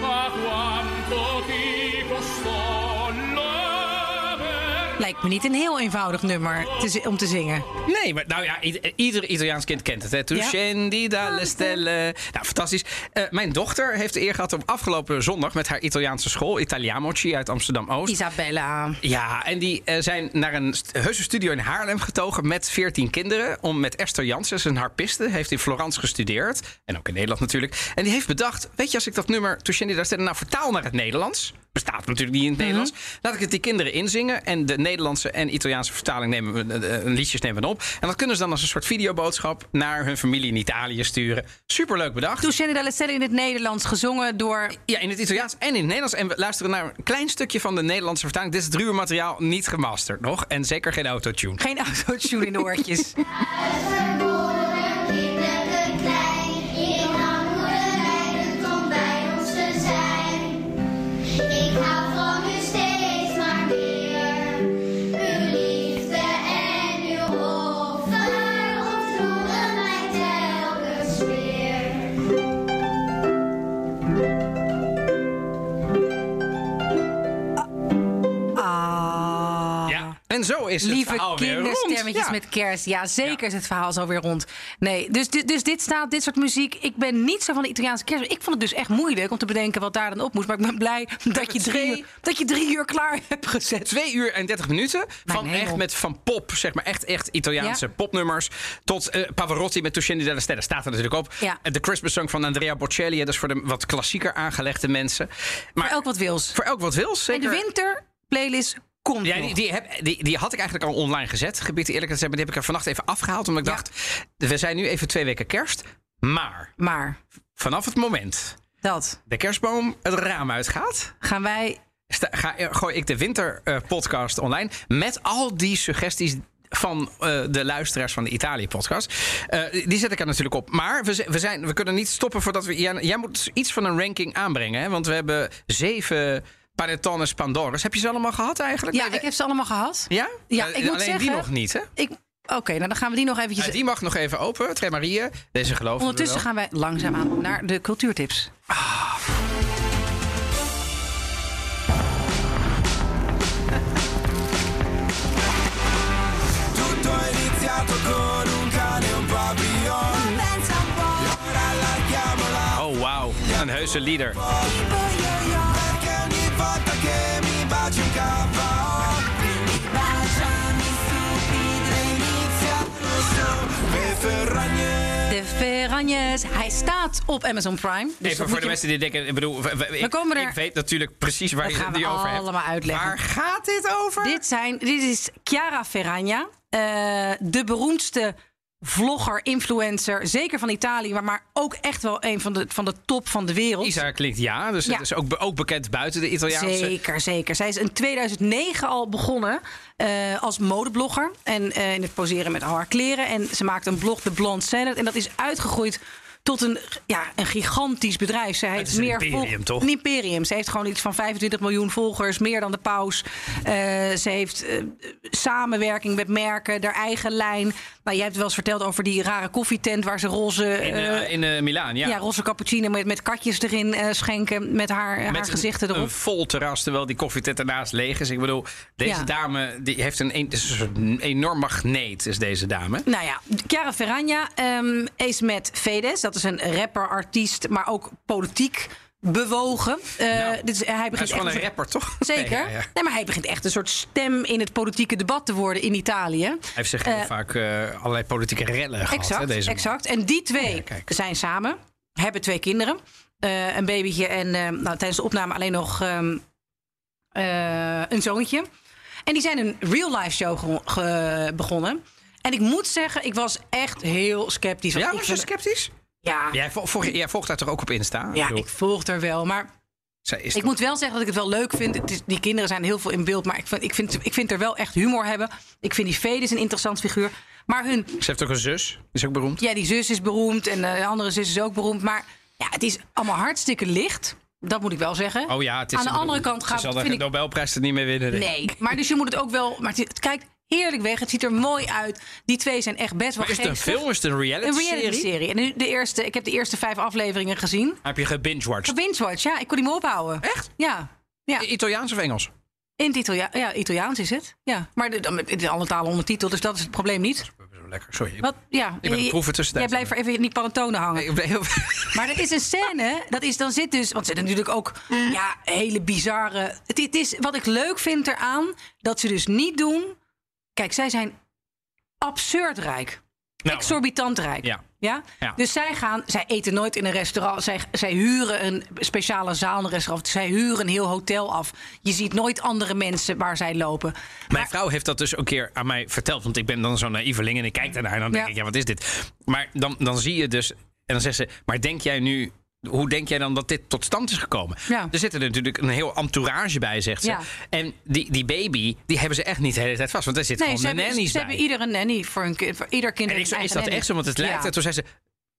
[SPEAKER 6] ma quanto ti costò la ver-
[SPEAKER 1] Lijkt me niet een heel eenvoudig nummer te zi- om te zingen.
[SPEAKER 2] Nee, maar nou ja, i- ieder Italiaans kind kent het. Hè? Tu
[SPEAKER 1] Ja.
[SPEAKER 2] scendi dalle stelle. Nou, fantastisch. Eh, mijn dochter heeft de eer gehad om afgelopen zondag met haar Italiaanse school, Italiamoci uit Amsterdam-Oost.
[SPEAKER 1] Isabella.
[SPEAKER 2] Ja, en die eh, zijn naar een st- heuse studio in Haarlem getogen met 14 kinderen. Om met Esther Janssens, een harpiste, heeft in Florence gestudeerd. En ook in Nederland natuurlijk. En die heeft bedacht, weet je, als ik dat nummer Tushendi daar stelle, nou vertaal naar het Nederlands. Bestaat natuurlijk niet in het Nederlands. Laat ik het die kinderen inzingen. En de Nederlandse en Italiaanse vertaling nemen we, eh, eh, liedjes nemen we dan op. En dat kunnen ze dan als een soort videoboodschap naar hun familie in Italië sturen. Superleuk bedacht.
[SPEAKER 1] Toen Jenny D'Alesselle in het Nederlands gezongen door...
[SPEAKER 2] Ja, in het Italiaans en in het Nederlands. En we luisteren naar een klein stukje van de Nederlandse vertaling. Dit is het ruwe materiaal, niet gemasterd nog. En zeker geen autotune.
[SPEAKER 1] Geen autotune in de
[SPEAKER 2] <laughs>
[SPEAKER 1] oortjes.
[SPEAKER 4] Ik ben een klein, in armoede lijden om bij ons te zijn. Ik hou van u steeds maar meer. Uw liefde en uw offer ontroeren mij telkens weer.
[SPEAKER 1] Ah.
[SPEAKER 2] Ja. En zo is het
[SPEAKER 1] Lieve
[SPEAKER 2] verhaal weer rond.
[SPEAKER 1] kinderstemmetjes
[SPEAKER 2] Ja.
[SPEAKER 1] met kerst. Ja, zeker is het verhaal zo weer rond. Nee, dus, di- dus dit staat, dit soort muziek. Ik ben niet zo van de Italiaanse kerst. Ik vond het dus echt moeilijk om te bedenken wat daar dan op moest. Maar ik ben blij dat je drie,
[SPEAKER 2] twee-
[SPEAKER 1] uur- dat je drie uur klaar hebt gezet.
[SPEAKER 2] Twee uur en 30 minuten van,
[SPEAKER 1] hemel.
[SPEAKER 2] echt met, van pop, zeg maar echt, echt Italiaanse
[SPEAKER 1] Ja.
[SPEAKER 2] popnummers. Tot eh, Pavarotti met Tuscendi della Stella staat er natuurlijk op.
[SPEAKER 1] Ja.
[SPEAKER 2] Eh, De Christmas song van Andrea Bocelli. Dat is voor de wat klassieker aangelegde mensen. Maar
[SPEAKER 1] Elk wat wils.
[SPEAKER 2] voor elk wat wil,
[SPEAKER 1] En
[SPEAKER 2] zeker.
[SPEAKER 1] de winter playlist komt
[SPEAKER 2] Ja,
[SPEAKER 1] nog.
[SPEAKER 2] die, die, heb, die, die had ik eigenlijk al online gezet. Gebied eerlijk gezegd, maar die heb ik er vannacht even afgehaald. Omdat ik
[SPEAKER 1] Ja.
[SPEAKER 2] dacht, we zijn nu even twee weken kerst. Maar
[SPEAKER 1] Maar
[SPEAKER 2] vanaf het moment
[SPEAKER 1] dat
[SPEAKER 2] de kerstboom het raam uitgaat...
[SPEAKER 1] gaan wij...
[SPEAKER 2] sta- ga, eh, gooi ik de winterpodcast online met al die suggesties... Van eh, de luisteraars van de Italië-podcast. Eh, die zet ik er natuurlijk op. Maar we, z- we, zijn, we kunnen niet stoppen voordat we. Jij, jij moet iets van een ranking aanbrengen. Hè? Want we hebben zeven Panettones Pandoras. Heb je ze allemaal gehad eigenlijk?
[SPEAKER 1] Ja,
[SPEAKER 2] Nee, we-
[SPEAKER 1] ik heb ze allemaal gehad.
[SPEAKER 2] ja?
[SPEAKER 1] Ja,
[SPEAKER 2] Eh,
[SPEAKER 1] ik moet
[SPEAKER 2] Alleen die
[SPEAKER 1] zeggen-
[SPEAKER 2] nog niet, hè?
[SPEAKER 1] Ik... Oké, nou dan gaan we die nog eventjes...
[SPEAKER 2] Eh, die mag nog even open. Tre Marie, deze geloof
[SPEAKER 1] Ondertussen gaan wij langzaamaan naar de cultuurtips.
[SPEAKER 7] Tutto è iniziato con un cane e un papillon
[SPEAKER 5] Pensa un po'
[SPEAKER 7] Ora la chiamo la
[SPEAKER 1] Dus
[SPEAKER 2] Oh, wauw. Een heuse leader.
[SPEAKER 5] tipo io
[SPEAKER 7] baci un capo
[SPEAKER 3] Baciami stupido, inizia
[SPEAKER 7] per Ferragne
[SPEAKER 1] De Ferragnez. Hij staat op Amazon Prime. Dus dat
[SPEAKER 2] Even
[SPEAKER 1] moet
[SPEAKER 2] voor de
[SPEAKER 1] je-
[SPEAKER 2] mensen die denken, ik bedoel, w- w- ik,
[SPEAKER 1] komen er-
[SPEAKER 2] ik weet natuurlijk precies waar
[SPEAKER 1] Dat
[SPEAKER 2] je
[SPEAKER 1] gaan
[SPEAKER 2] het
[SPEAKER 1] we
[SPEAKER 2] nu over hebt.
[SPEAKER 1] allemaal uitleggen.
[SPEAKER 2] Waar gaat dit over?
[SPEAKER 1] Dit, zijn, dit is Chiara Ferragna, eh, de beroemdste vlogger, influencer, zeker van Italië, maar, maar ook echt wel een van de, van de top van de wereld.
[SPEAKER 2] Isa klinkt ja, dus
[SPEAKER 1] Ja.
[SPEAKER 2] het is ook, be- ook bekend buiten de Italiaanse.
[SPEAKER 1] Zeker, zeker. Zij is in 2009 al begonnen eh, als modeblogger. En eh, in het poseren met haar kleren. En ze maakte een blog, The Blonde Salad. En dat is uitgegroeid tot een, ja, een gigantisch bedrijf. Zij heeft
[SPEAKER 2] is een
[SPEAKER 1] meer
[SPEAKER 2] imperium,
[SPEAKER 1] volg-
[SPEAKER 2] toch?
[SPEAKER 1] Een imperium. Ze heeft gewoon iets van 25 miljoen volgers. Meer dan de paus. Eh, ze heeft eh, samenwerking met merken. Haar eigen lijn. Nou, je hebt wel eens verteld over die rare koffietent... waar ze roze...
[SPEAKER 2] In,
[SPEAKER 1] eh,
[SPEAKER 2] eh, in eh, Milaan, ja.
[SPEAKER 1] ja, roze cappuccino met, met katjes erin eh, schenken. Met haar, haar
[SPEAKER 2] Met
[SPEAKER 1] gezichten
[SPEAKER 2] een,
[SPEAKER 1] erop.
[SPEAKER 2] een vol terras, terwijl die koffietent daarnaast leeg is. Ik bedoel, deze
[SPEAKER 1] Ja.
[SPEAKER 2] dame die heeft een, een, is een soort enorm magneet, is deze dame.
[SPEAKER 1] Nou ja, Chiara Ferragna ehm, is met Fedes. Dat is een rapper, artiest, maar ook politiek bewogen. Eh,
[SPEAKER 2] Nou,
[SPEAKER 1] dit is, hij
[SPEAKER 2] Hij is
[SPEAKER 1] begint
[SPEAKER 2] gewoon
[SPEAKER 1] echt
[SPEAKER 2] een
[SPEAKER 1] soort-
[SPEAKER 2] rapper, toch?
[SPEAKER 1] Zeker.
[SPEAKER 2] <laughs> Ja, ja, ja. Hij
[SPEAKER 1] Nee, maar hij begint echt een soort stem in het politieke debat te worden in Italië.
[SPEAKER 2] heeft zich heel
[SPEAKER 1] Eh,
[SPEAKER 2] vaak eh, allerlei politieke rellen gehad, hè,
[SPEAKER 1] Exact,
[SPEAKER 2] deze man.
[SPEAKER 1] exact. En die twee
[SPEAKER 2] Ja, kijk.
[SPEAKER 1] zijn samen, hebben twee kinderen. Eh, een babytje en eh, nou, tijdens de opname alleen nog ehm, eh, een zoontje. En die zijn een real-life show ge- ge- begonnen. En ik moet zeggen, ik was echt heel sceptisch. Want
[SPEAKER 2] Ja,
[SPEAKER 1] ik
[SPEAKER 2] was je
[SPEAKER 1] vind-
[SPEAKER 2] sceptisch?
[SPEAKER 1] ja,
[SPEAKER 2] Jij, vo- volg- jij volgt haar toch ook op Insta?
[SPEAKER 1] ja,
[SPEAKER 2] bedoel,
[SPEAKER 1] ik volg er wel. Maar
[SPEAKER 2] zij is
[SPEAKER 1] ik moet wel zeggen dat ik het wel leuk vind. Het is, die kinderen zijn heel veel in beeld. Maar ik vind, ik, vind, ik vind er wel echt humor hebben. Ik vind die Fedis een interessant figuur. Maar hun
[SPEAKER 2] Ze heeft ook een zus, die is ook beroemd.
[SPEAKER 1] Ja, die zus is beroemd en eh, de andere zus is ook beroemd. Maar ja, het is allemaal hartstikke licht. Dat moet ik wel zeggen.
[SPEAKER 2] Oh ja, het is
[SPEAKER 1] Aan de
[SPEAKER 2] ik bedoel,
[SPEAKER 1] andere kant gaat
[SPEAKER 2] Ze zal
[SPEAKER 1] vind
[SPEAKER 2] de
[SPEAKER 1] ik-
[SPEAKER 2] Nobelprijs er niet meer winnen. denk ik.
[SPEAKER 1] Nee, maar dus je moet het ook wel... Maar het, het kijkt heerlijk weg. Het ziet er mooi uit. Die twee zijn echt best wel
[SPEAKER 2] Maar is het een
[SPEAKER 1] geestig.
[SPEAKER 2] film? Is het een
[SPEAKER 1] Een
[SPEAKER 2] reality-serie?
[SPEAKER 1] reality-serie. En nu de eerste, ik heb de eerste vijf afleveringen gezien.
[SPEAKER 2] Heb je gebingewatched?
[SPEAKER 1] Binge-watch, ja. Ik kon die me ophouden.
[SPEAKER 2] Echt?
[SPEAKER 1] Ja. Ja,
[SPEAKER 2] Italiaans of Engels?
[SPEAKER 1] in het Italia ja, Italiaans is het. Ja, maar de, dan met- in alle talen ondertiteld, dus dat is het probleem niet.
[SPEAKER 2] Zo lekker, sorry.
[SPEAKER 1] Wat, ja,
[SPEAKER 2] Ik ben een proever tussentijd.
[SPEAKER 1] Jij blijft er even niet panettone hangen. <laughs>
[SPEAKER 2] Ik ben heel...
[SPEAKER 1] Maar er is een scène, dat is, dan zit dus... Want ze hebben natuurlijk ook ja, hele bizarre... Het, het is, wat ik leuk vind eraan, dat ze dus niet doen... Kijk, zij zijn absurd rijk.
[SPEAKER 2] Nou,
[SPEAKER 1] Exorbitant rijk.
[SPEAKER 2] Ja.
[SPEAKER 1] Ja?
[SPEAKER 2] Ja.
[SPEAKER 1] Dus zij gaan, zij eten nooit in een restaurant. Zij, zij huren een speciale zaal in een restaurant. Zij huren een heel hotel af. Je ziet nooit andere mensen waar zij lopen.
[SPEAKER 2] Mijn vrouw heeft dat dus een keer aan mij verteld. Want ik ben dan zo'n naïveling en ik kijk daarnaar en dan denk
[SPEAKER 1] Ja.
[SPEAKER 2] ik, ja, wat is dit? Maar dan, dan zie je dus... En dan zegt ze, maar denk jij nu... Hoe denk jij dan dat dit tot stand is gekomen?
[SPEAKER 1] Ja.
[SPEAKER 2] Er zit er natuurlijk een heel entourage bij, zegt ze.
[SPEAKER 1] Ja.
[SPEAKER 2] En die, die baby, die hebben ze echt niet de hele tijd vast. Want daar zit
[SPEAKER 1] Nee,
[SPEAKER 2] gewoon
[SPEAKER 1] ze
[SPEAKER 2] een
[SPEAKER 1] hebben,
[SPEAKER 2] nannies
[SPEAKER 1] ze
[SPEAKER 2] bij.
[SPEAKER 1] hebben ieder een nanny voor, een, kind- voor ieder kind.
[SPEAKER 2] En ik
[SPEAKER 1] heeft
[SPEAKER 2] zei,
[SPEAKER 1] een
[SPEAKER 2] is
[SPEAKER 1] eigen
[SPEAKER 2] dat
[SPEAKER 1] nanny.
[SPEAKER 2] echt zo? Want het lijkt
[SPEAKER 1] Ja.
[SPEAKER 2] er. Toen zei ze,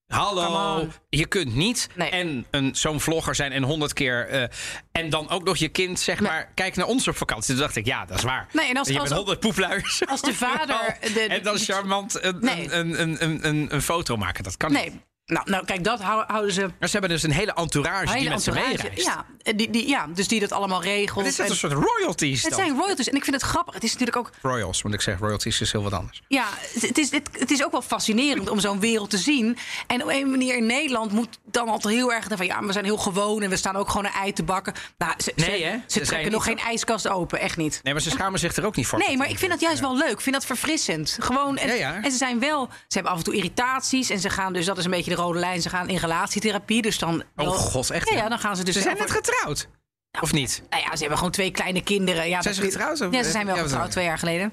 [SPEAKER 1] Come
[SPEAKER 2] hallo,
[SPEAKER 1] on.
[SPEAKER 2] je kunt niet
[SPEAKER 1] Nee.
[SPEAKER 2] en een, zo'n vlogger zijn en honderd keer... eh, en dan ook nog je kind, zeg maar, kijk naar ons op vakantie. Toen dacht ik, ja, dat is waar.
[SPEAKER 1] Nee, en als-
[SPEAKER 2] je
[SPEAKER 1] als-
[SPEAKER 2] bent honderd poepluiers.
[SPEAKER 1] <laughs>
[SPEAKER 2] <laughs>
[SPEAKER 1] als de vader de- de-
[SPEAKER 2] en dan charmant een,
[SPEAKER 1] Nee.
[SPEAKER 2] een, een, een, een, een foto maken, dat kan niet.
[SPEAKER 1] Nee, nou, nou kijk, dat hou- houden ze...
[SPEAKER 2] Maar ze hebben dus een hele entourage die
[SPEAKER 1] Hele
[SPEAKER 2] met ze
[SPEAKER 1] entourage.
[SPEAKER 2] meereist.
[SPEAKER 1] Ja, eh, die, die, ja, dus die dat allemaal regelt.
[SPEAKER 2] Het is net
[SPEAKER 1] En-
[SPEAKER 2] een soort royalties
[SPEAKER 1] het
[SPEAKER 2] dan.
[SPEAKER 1] zijn royalties. En ik vind het grappig. Het is natuurlijk ook.
[SPEAKER 2] Royals, want ik zeg royalties is heel wat anders.
[SPEAKER 1] Ja, het- het is, het, het is ook wel fascinerend om zo'n wereld te zien. En op een manier in Nederland moet dan altijd heel erg. van ja, we zijn heel gewoon en we staan ook gewoon een ei te bakken. Nou, ze, ze-
[SPEAKER 2] Nee, hè? Ze
[SPEAKER 1] ze
[SPEAKER 2] zijn
[SPEAKER 1] trekken
[SPEAKER 2] niet
[SPEAKER 1] nog
[SPEAKER 2] zo-
[SPEAKER 1] geen ijskast open. Echt niet.
[SPEAKER 2] Nee, maar ze schamen zich er ook niet voor.
[SPEAKER 1] Nee, maar ik vind dat juist wel leuk. Ik vind dat verfrissend. Gewoon, en,
[SPEAKER 2] Ja, ja.
[SPEAKER 1] en ze zijn wel, ze hebben af en toe irritaties. En ze gaan dus, dat is een beetje de rode lijn. Ze gaan in relatietherapie. Dus dan.
[SPEAKER 2] Oh god, echt?
[SPEAKER 1] Ja,
[SPEAKER 2] hè?
[SPEAKER 1] ja, dan gaan ze dus.
[SPEAKER 2] Ze zijn
[SPEAKER 1] over-
[SPEAKER 2] net getrouwd. Of niet?
[SPEAKER 1] Nou ja, ze hebben gewoon twee kleine kinderen. Ja,
[SPEAKER 2] Zijn ze
[SPEAKER 1] dat-
[SPEAKER 2] getrouwd? Of-
[SPEAKER 1] Ja, ze zijn wel
[SPEAKER 2] Ja, wat
[SPEAKER 1] getrouwd
[SPEAKER 2] dan?
[SPEAKER 1] twee jaar geleden.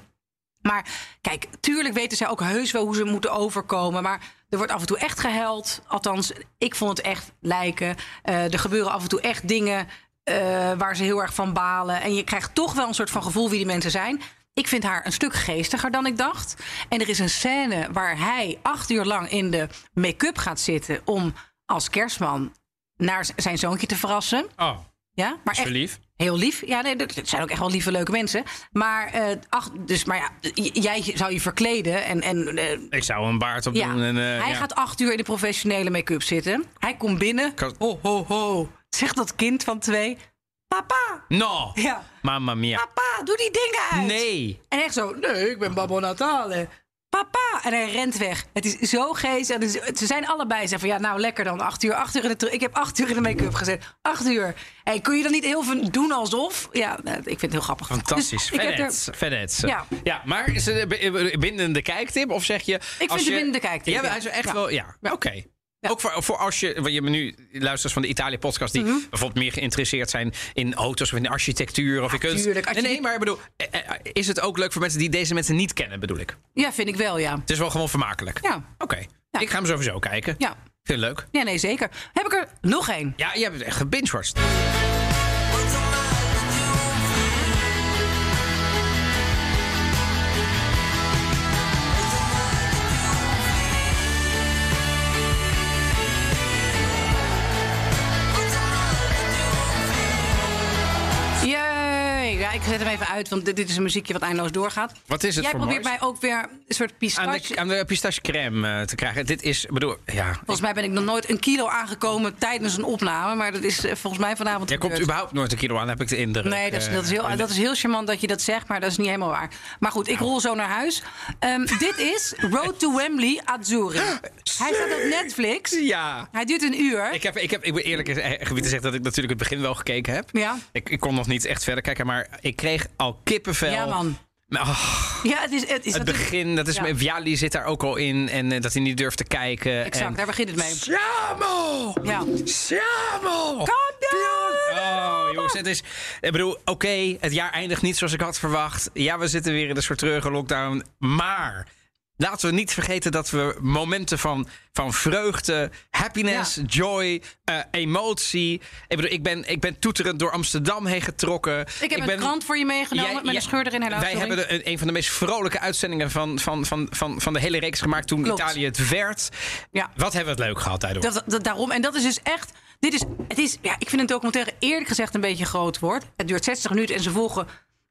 [SPEAKER 1] Maar kijk, tuurlijk weten zij ook heus wel hoe ze moeten overkomen. Maar er wordt af en toe echt gehuild. Althans, ik vond het echt lijken. Eh, er gebeuren af en toe echt dingen eh, waar ze heel erg van balen. En je krijgt toch wel een soort van gevoel wie die mensen zijn. Ik vind haar een stuk geestiger dan ik dacht. En er is een scène waar hij acht uur lang in de make-up gaat zitten... om als kerstman naar z- zijn zoontje te verrassen.
[SPEAKER 2] Oh,
[SPEAKER 1] Ja, maar echt
[SPEAKER 2] lief.
[SPEAKER 1] Heel lief. Ja, nee, dat dat zijn ook echt wel lieve, leuke mensen. Maar, eh, ach, dus, maar ja, j- jij zou je verkleden. En, en, eh,
[SPEAKER 2] Ik zou een baard op
[SPEAKER 1] ja.
[SPEAKER 2] doen. En, eh,
[SPEAKER 1] Hij
[SPEAKER 2] ja.
[SPEAKER 1] gaat acht uur in de professionele make-up zitten. Hij komt binnen.
[SPEAKER 2] Kan-
[SPEAKER 1] Ho, ho, ho. Zegt dat kind van twee. Papa,
[SPEAKER 2] No!
[SPEAKER 1] Ja.
[SPEAKER 2] Mamma mia.
[SPEAKER 1] papa, doe die dingen uit.
[SPEAKER 2] Nee!
[SPEAKER 1] En echt zo, nee, ik ben Babbo Natale. Papa! En hij rent weg. Het is zo geestig. Het is- Ze zijn allebei. Ze zeggen van ja, nou lekker dan. Acht uur. Acht uur in de tr- ik heb acht uur in de make-up gezet. Acht uur. Hey, kun je dan niet heel veel doen alsof? Ja, eh, ik vind het heel grappig.
[SPEAKER 2] Fantastisch.
[SPEAKER 1] Dus <laughs> ik heb er-
[SPEAKER 2] Vedet. Vedet. Ja.
[SPEAKER 1] Ja.
[SPEAKER 2] ja, maar is het een b- bindende kijktip? Of zeg je. Ik
[SPEAKER 1] vind het een bindende kijktip,
[SPEAKER 2] Ja, maar
[SPEAKER 1] ja.
[SPEAKER 2] hij is echt
[SPEAKER 1] Ja.
[SPEAKER 2] wel. Ja, oké.
[SPEAKER 1] Ja.
[SPEAKER 2] Ook voor, voor als je, want je hebt nu luisteraars van de Italië-podcast... die
[SPEAKER 1] Mhm.
[SPEAKER 2] bijvoorbeeld meer geïnteresseerd zijn in auto's of in architectuur of in kunst.
[SPEAKER 1] tuurlijk,
[SPEAKER 2] Nee, nee,
[SPEAKER 1] architect-
[SPEAKER 2] maar ik bedoel, eh, eh, is het ook leuk voor mensen die deze mensen niet kennen, bedoel ik?
[SPEAKER 1] Ja, vind ik wel, ja.
[SPEAKER 2] Het is wel gewoon vermakelijk.
[SPEAKER 1] Ja.
[SPEAKER 2] Oké, ik ga hem sowieso kijken.
[SPEAKER 1] Ja.
[SPEAKER 2] Ik Vind het leuk.
[SPEAKER 1] Ja, nee, zeker. Heb ik er nog één?
[SPEAKER 2] Ja, je hebt het echt gebingewatched.
[SPEAKER 1] Jee. Ja, ik zet hem even uit, want dit, dit is een muziekje wat eindeloos doorgaat.
[SPEAKER 2] Wat is het
[SPEAKER 1] Jij
[SPEAKER 2] voor
[SPEAKER 1] probeert
[SPEAKER 2] moois?
[SPEAKER 1] mij ook weer een soort
[SPEAKER 2] Aan
[SPEAKER 1] pistache...
[SPEAKER 2] de, aan de pistache crème eh, te krijgen. Dit is, ik bedoel, ja...
[SPEAKER 1] Volgens mij ben ik nog nooit een kilo aangekomen tijdens een opname. Maar dat is eh, volgens mij vanavond
[SPEAKER 2] Jij komt
[SPEAKER 1] gebeurd.
[SPEAKER 2] überhaupt nooit een kilo aan, heb ik de indruk.
[SPEAKER 1] Nee, dat is, dat, is
[SPEAKER 2] eh,
[SPEAKER 1] heel, dat is heel charmant dat je dat zegt, maar dat is niet helemaal waar. Maar goed, ik rol zo naar huis.
[SPEAKER 2] <laughs>
[SPEAKER 1] Ehm, dit is Road to Wembley Azzurri. Hij staat op Netflix.
[SPEAKER 2] Eh, Ja.
[SPEAKER 1] Hij duurt een uur.
[SPEAKER 2] Ik, heb, ik, heb, ik ben eerlijk gebied te zeggen dat ik natuurlijk het begin wel gekeken heb.
[SPEAKER 1] Ja.
[SPEAKER 2] Ik, ik kon nog niet echt verder kijken, maar ik kreeg al kippenvel.
[SPEAKER 1] Ja, man.
[SPEAKER 2] Maar, ah,
[SPEAKER 1] Ja, het is, het is
[SPEAKER 2] het
[SPEAKER 1] natuurlijk-
[SPEAKER 2] begin, dat is...
[SPEAKER 1] Ja.
[SPEAKER 2] Viali zit daar ook al in en eh, dat hij niet durft te kijken.
[SPEAKER 1] Exact, daar
[SPEAKER 2] en...
[SPEAKER 1] begint het mee.
[SPEAKER 2] Siamo!
[SPEAKER 1] Ja.
[SPEAKER 2] Siamo! Oh, jongens, het is... Ik bedoel, oké, het jaar eindigt niet zoals ik had verwacht. Ja, we zitten weer in een soort treurige lockdown. Maar laten we niet vergeten dat we momenten van, van vreugde, happiness,
[SPEAKER 1] Ja.
[SPEAKER 2] joy, eh, emotie... Ik bedoel, ik ben, ik ben toeterend door Amsterdam heen getrokken.
[SPEAKER 1] Ik heb
[SPEAKER 2] ben,
[SPEAKER 1] een krant voor je meegenomen
[SPEAKER 2] Jij-
[SPEAKER 1] met een
[SPEAKER 2] jij-
[SPEAKER 1] scheur erin helaas.
[SPEAKER 2] Wij
[SPEAKER 1] sorry.
[SPEAKER 2] hebben de- een, een van de meest vrolijke uitzendingen van, van, van, van, van de hele reeks gemaakt toen
[SPEAKER 1] Klopt.
[SPEAKER 2] Italië het werd.
[SPEAKER 1] Ja.
[SPEAKER 2] Wat hebben we het leuk gehad daardoor.
[SPEAKER 1] Dat, dat- daarom, en dat is dus echt. Dit is, het is, ja, ik vind een documentaire eerlijk gezegd een beetje een groot woord. Het duurt 60 minuten en ze volgen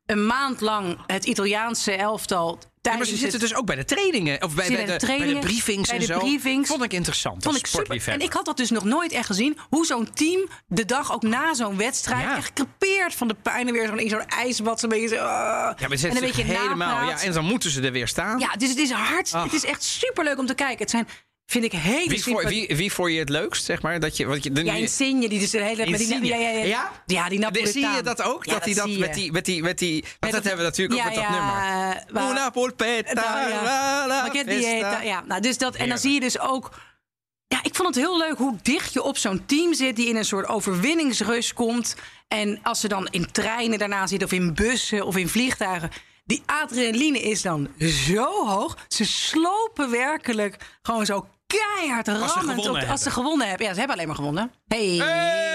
[SPEAKER 1] een maand lang het Italiaanse elftal.
[SPEAKER 2] Ja, maar
[SPEAKER 1] Tijdens
[SPEAKER 2] ze zitten
[SPEAKER 1] het-
[SPEAKER 2] dus ook bij de trainingen. Of bij,
[SPEAKER 1] Ze
[SPEAKER 2] bij,
[SPEAKER 1] zitten
[SPEAKER 2] de, bij de
[SPEAKER 1] trainingen,
[SPEAKER 2] briefings
[SPEAKER 1] bij
[SPEAKER 2] en
[SPEAKER 1] de
[SPEAKER 2] zo.
[SPEAKER 1] briefings.
[SPEAKER 2] Vond ik interessant.
[SPEAKER 1] Vond
[SPEAKER 2] als
[SPEAKER 1] ik super.
[SPEAKER 2] sportliefhebber.
[SPEAKER 1] En ik had dat dus nog nooit echt gezien. Hoe zo'n team de dag ook na zo'n wedstrijd.
[SPEAKER 2] Ja.
[SPEAKER 1] echt crepeert van de pijn. En weer zo'n, in zo'n ijsbad. Zo'n beetje zo, ah.
[SPEAKER 2] Ja, maar ze
[SPEAKER 1] en een beetje
[SPEAKER 2] helemaal. Ja,
[SPEAKER 1] napraat.
[SPEAKER 2] en dan moeten ze er weer staan.
[SPEAKER 1] Ja, dus het is hard. Het is echt superleuk om te kijken. Het zijn, vind ik, hele
[SPEAKER 2] Ah. wie, voor,
[SPEAKER 1] sympathie-
[SPEAKER 2] wie, wie voor je het leukst, zeg maar? Dat je, wat je, de,
[SPEAKER 1] Ja, Insigne, die dus de hele... met
[SPEAKER 2] Insigne.
[SPEAKER 1] Die, ja, ja, ja,
[SPEAKER 2] Ja?
[SPEAKER 1] Ja, die
[SPEAKER 2] de-
[SPEAKER 1] Napolitaan.
[SPEAKER 2] zie je dat ook?
[SPEAKER 1] Ja,
[SPEAKER 2] dat hij dat,
[SPEAKER 1] zie
[SPEAKER 2] met
[SPEAKER 1] je.
[SPEAKER 2] die... Met die, met die want dat
[SPEAKER 1] dat-
[SPEAKER 2] hebben we natuurlijk ook met dat nummer.
[SPEAKER 1] eh, waar-
[SPEAKER 2] Una polpetta,
[SPEAKER 1] Nou, ja.
[SPEAKER 2] la, la,
[SPEAKER 1] Maar ik heb die,
[SPEAKER 2] festa.
[SPEAKER 1] eh, ta- ja, nou, dus dat, en dan
[SPEAKER 2] Heerlijk.
[SPEAKER 1] zie je dus ook. Ja, ik vond het heel leuk hoe dicht je op zo'n team zit die in een soort overwinningsrust komt. En als ze dan in treinen daarna zitten, of in bussen of in vliegtuigen. Die adrenaline is dan zo hoog. Ze slopen werkelijk gewoon zo keihard
[SPEAKER 2] ze
[SPEAKER 1] rammend.
[SPEAKER 2] gewonnen
[SPEAKER 1] op de- als ze
[SPEAKER 2] hebben.
[SPEAKER 1] gewonnen hebben. Ja, ze hebben alleen maar gewonnen. Hey.
[SPEAKER 2] Hey!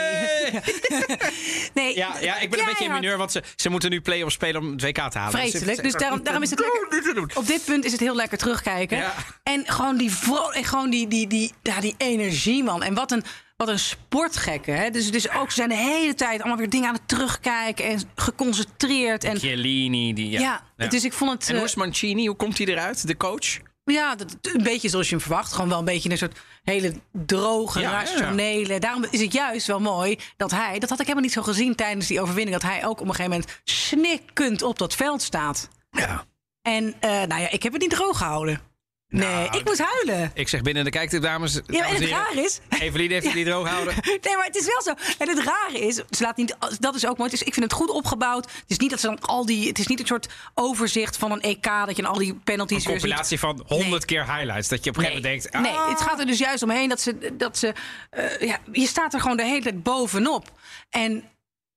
[SPEAKER 1] Nee,
[SPEAKER 2] Ja, ja, ik ben een beetje in
[SPEAKER 1] keihard
[SPEAKER 2] mineur, want ze, ze moeten nu play-offs spelen om het WK te halen. Dus het-
[SPEAKER 1] Vreselijk. Dus daarom, daarom is het lekker. Op dit punt is het heel lekker terugkijken.
[SPEAKER 2] Ja.
[SPEAKER 1] En gewoon die, vro- en gewoon die, die, die, ja, die energie, man. En wat een, wat een sportgekke. Hè? Dus, dus ook, ze zijn de hele tijd allemaal weer dingen aan het terugkijken. En geconcentreerd. En, ja,
[SPEAKER 2] Chiellini, die... Ja,
[SPEAKER 1] dus ik vond het...
[SPEAKER 2] En
[SPEAKER 1] eh,
[SPEAKER 2] hoe is Mancini? Hoe komt hij eruit, de coach?
[SPEAKER 1] ja, dat, een beetje zoals je hem verwacht. Gewoon wel een beetje een soort hele droge,
[SPEAKER 2] Ja, ja.
[SPEAKER 1] rationele. Daarom is het juist wel mooi dat hij... Dat had ik helemaal niet zo gezien tijdens die overwinning. Dat hij ook op een gegeven moment snikkend op dat veld staat.
[SPEAKER 2] Ja.
[SPEAKER 1] En eh, nou ja, ik heb het niet droog gehouden.
[SPEAKER 2] Nou,
[SPEAKER 1] Nee, ik moest huilen.
[SPEAKER 2] Ik zeg binnen de kijktip, dames.
[SPEAKER 1] Ja,
[SPEAKER 2] dames
[SPEAKER 1] en het
[SPEAKER 2] heren.
[SPEAKER 1] raar is...
[SPEAKER 2] Evelien heeft het niet droog houden.
[SPEAKER 1] Nee, maar het is wel zo. En het rare is, ze laat niet, dat is ook mooi. Het is, ik vind het goed opgebouwd. Het is niet dat ze dan al die, het is niet een soort overzicht van een EK dat je dan al die penalties
[SPEAKER 2] Een
[SPEAKER 1] weer ziet.
[SPEAKER 2] compilatie van 100 keer highlights. Dat je op een gegeven moment denkt... "Ah."
[SPEAKER 1] Nee, het gaat er dus juist omheen dat ze. Dat ze eh, ja, je staat er gewoon de hele tijd bovenop. En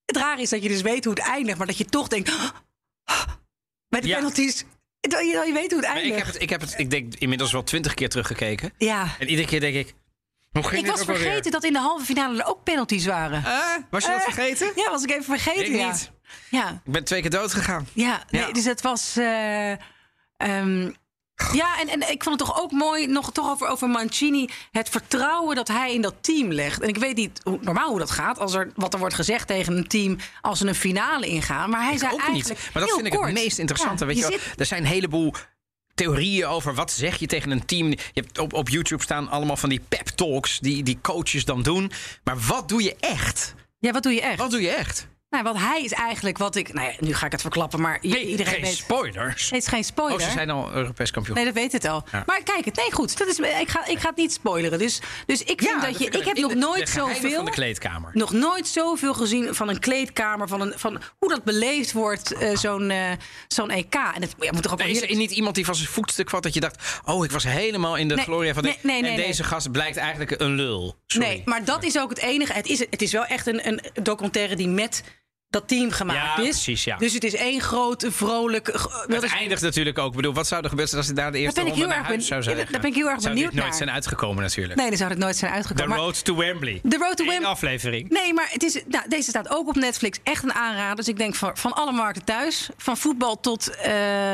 [SPEAKER 1] het rare is dat je dus weet hoe het eindigt, maar dat je toch denkt. bij de
[SPEAKER 2] Ja.
[SPEAKER 1] penalties. Dat je, dat je weet hoe het
[SPEAKER 2] Maar ik,
[SPEAKER 1] eindigt.
[SPEAKER 2] heb het, ik heb het ik denk inmiddels wel 20 keer teruggekeken.
[SPEAKER 1] Ja.
[SPEAKER 2] En iedere keer denk ik... Hoe ging
[SPEAKER 1] Ik
[SPEAKER 2] dit
[SPEAKER 1] was
[SPEAKER 2] ook alweer?
[SPEAKER 1] vergeten dat in de halve finale er ook penalties waren.
[SPEAKER 2] Eh, was je dat
[SPEAKER 1] Eh,
[SPEAKER 2] vergeten?
[SPEAKER 1] Ja, was ik even vergeten.
[SPEAKER 2] Ik
[SPEAKER 1] ja.
[SPEAKER 2] niet.
[SPEAKER 1] Ja,
[SPEAKER 2] Ik ben twee keer dood gegaan.
[SPEAKER 1] ja, nee,
[SPEAKER 2] Ja.
[SPEAKER 1] dus het was. eh, ehm, ja, en, en ik vond het toch ook mooi, nog toch over, over Mancini, het vertrouwen dat hij in dat team legt. En ik weet niet hoe, normaal hoe dat gaat, als er, wat er wordt gezegd tegen een team als ze een finale ingaan. Maar hij zei
[SPEAKER 2] ook
[SPEAKER 1] eigenlijk.
[SPEAKER 2] niet. Maar dat
[SPEAKER 1] heel
[SPEAKER 2] vind ik
[SPEAKER 1] kort,
[SPEAKER 2] het meest interessante.
[SPEAKER 1] ja,
[SPEAKER 2] weet je
[SPEAKER 1] je
[SPEAKER 2] wel.
[SPEAKER 1] zit-
[SPEAKER 2] Er zijn een heleboel theorieën over wat zeg je tegen een team. Je hebt op, op YouTube staan allemaal van die pep talks die, die coaches dan doen. Maar wat doe je echt?
[SPEAKER 1] ja, wat doe je echt?
[SPEAKER 2] Wat doe je echt?
[SPEAKER 1] Nou, want hij is eigenlijk wat ik. Nou ja, nu ga ik het verklappen, maar i-
[SPEAKER 2] Nee,
[SPEAKER 1] iedereen
[SPEAKER 2] geen
[SPEAKER 1] weet.
[SPEAKER 2] spoilers.
[SPEAKER 1] Nee, het is geen spoiler.
[SPEAKER 2] Oh, ze zijn al Europees kampioen.
[SPEAKER 1] Nee, dat weet het al.
[SPEAKER 2] Ja.
[SPEAKER 1] Maar kijk het. Nee, goed. Dat is, ik, ga, ik ga het niet spoileren. Dus, dus ik vind dat je. Ik heb
[SPEAKER 2] in
[SPEAKER 1] nog
[SPEAKER 2] de-
[SPEAKER 1] nooit
[SPEAKER 2] de geheimen
[SPEAKER 1] zoveel.
[SPEAKER 2] van de kleedkamer.
[SPEAKER 1] nog nooit zoveel gezien van een kleedkamer, van, een, van hoe dat beleefd wordt, eh, zo'n eh, zo'n EK. En dat ja, moet toch ook wel
[SPEAKER 2] Nee, is er
[SPEAKER 1] heerlijk
[SPEAKER 2] niet iemand die van zijn voetstuk kwam dat je dacht... oh, ik was helemaal in de
[SPEAKER 1] Nee,
[SPEAKER 2] gloria van... De...
[SPEAKER 1] nee, nee, nee,
[SPEAKER 2] en
[SPEAKER 1] nee.
[SPEAKER 2] deze gast blijkt eigenlijk een lul. Sorry.
[SPEAKER 1] Nee, maar dat is ook het enige. Het is, het is wel echt een, een documentaire die met dat team gemaakt
[SPEAKER 2] Ja,
[SPEAKER 1] is.
[SPEAKER 2] precies, ja.
[SPEAKER 1] Dus het is één groot, vrolijk... eh, ge-
[SPEAKER 2] Het
[SPEAKER 1] dat is-
[SPEAKER 2] eindigt natuurlijk ook. Ik bedoel, wat zou er gebeuren als hij daar de eerste
[SPEAKER 1] ben ik
[SPEAKER 2] ronde
[SPEAKER 1] heel
[SPEAKER 2] naar
[SPEAKER 1] erg
[SPEAKER 2] huis
[SPEAKER 1] ben- ja,
[SPEAKER 2] zou zijn?
[SPEAKER 1] daar ben ik heel erg
[SPEAKER 2] zou
[SPEAKER 1] benieuwd
[SPEAKER 2] dit nooit
[SPEAKER 1] naar.
[SPEAKER 2] zijn uitgekomen natuurlijk.
[SPEAKER 1] Nee, daar zou het nooit zijn
[SPEAKER 2] The
[SPEAKER 1] uitgekomen. Maar-
[SPEAKER 2] Road to Wembley.
[SPEAKER 1] The Road to
[SPEAKER 2] Eén
[SPEAKER 1] Wembley.
[SPEAKER 2] aflevering.
[SPEAKER 1] Nee, maar het is, nou, deze staat ook op Netflix. Echt een aanrader. Dus ik denk van, van alle markten thuis. Van voetbal tot eh,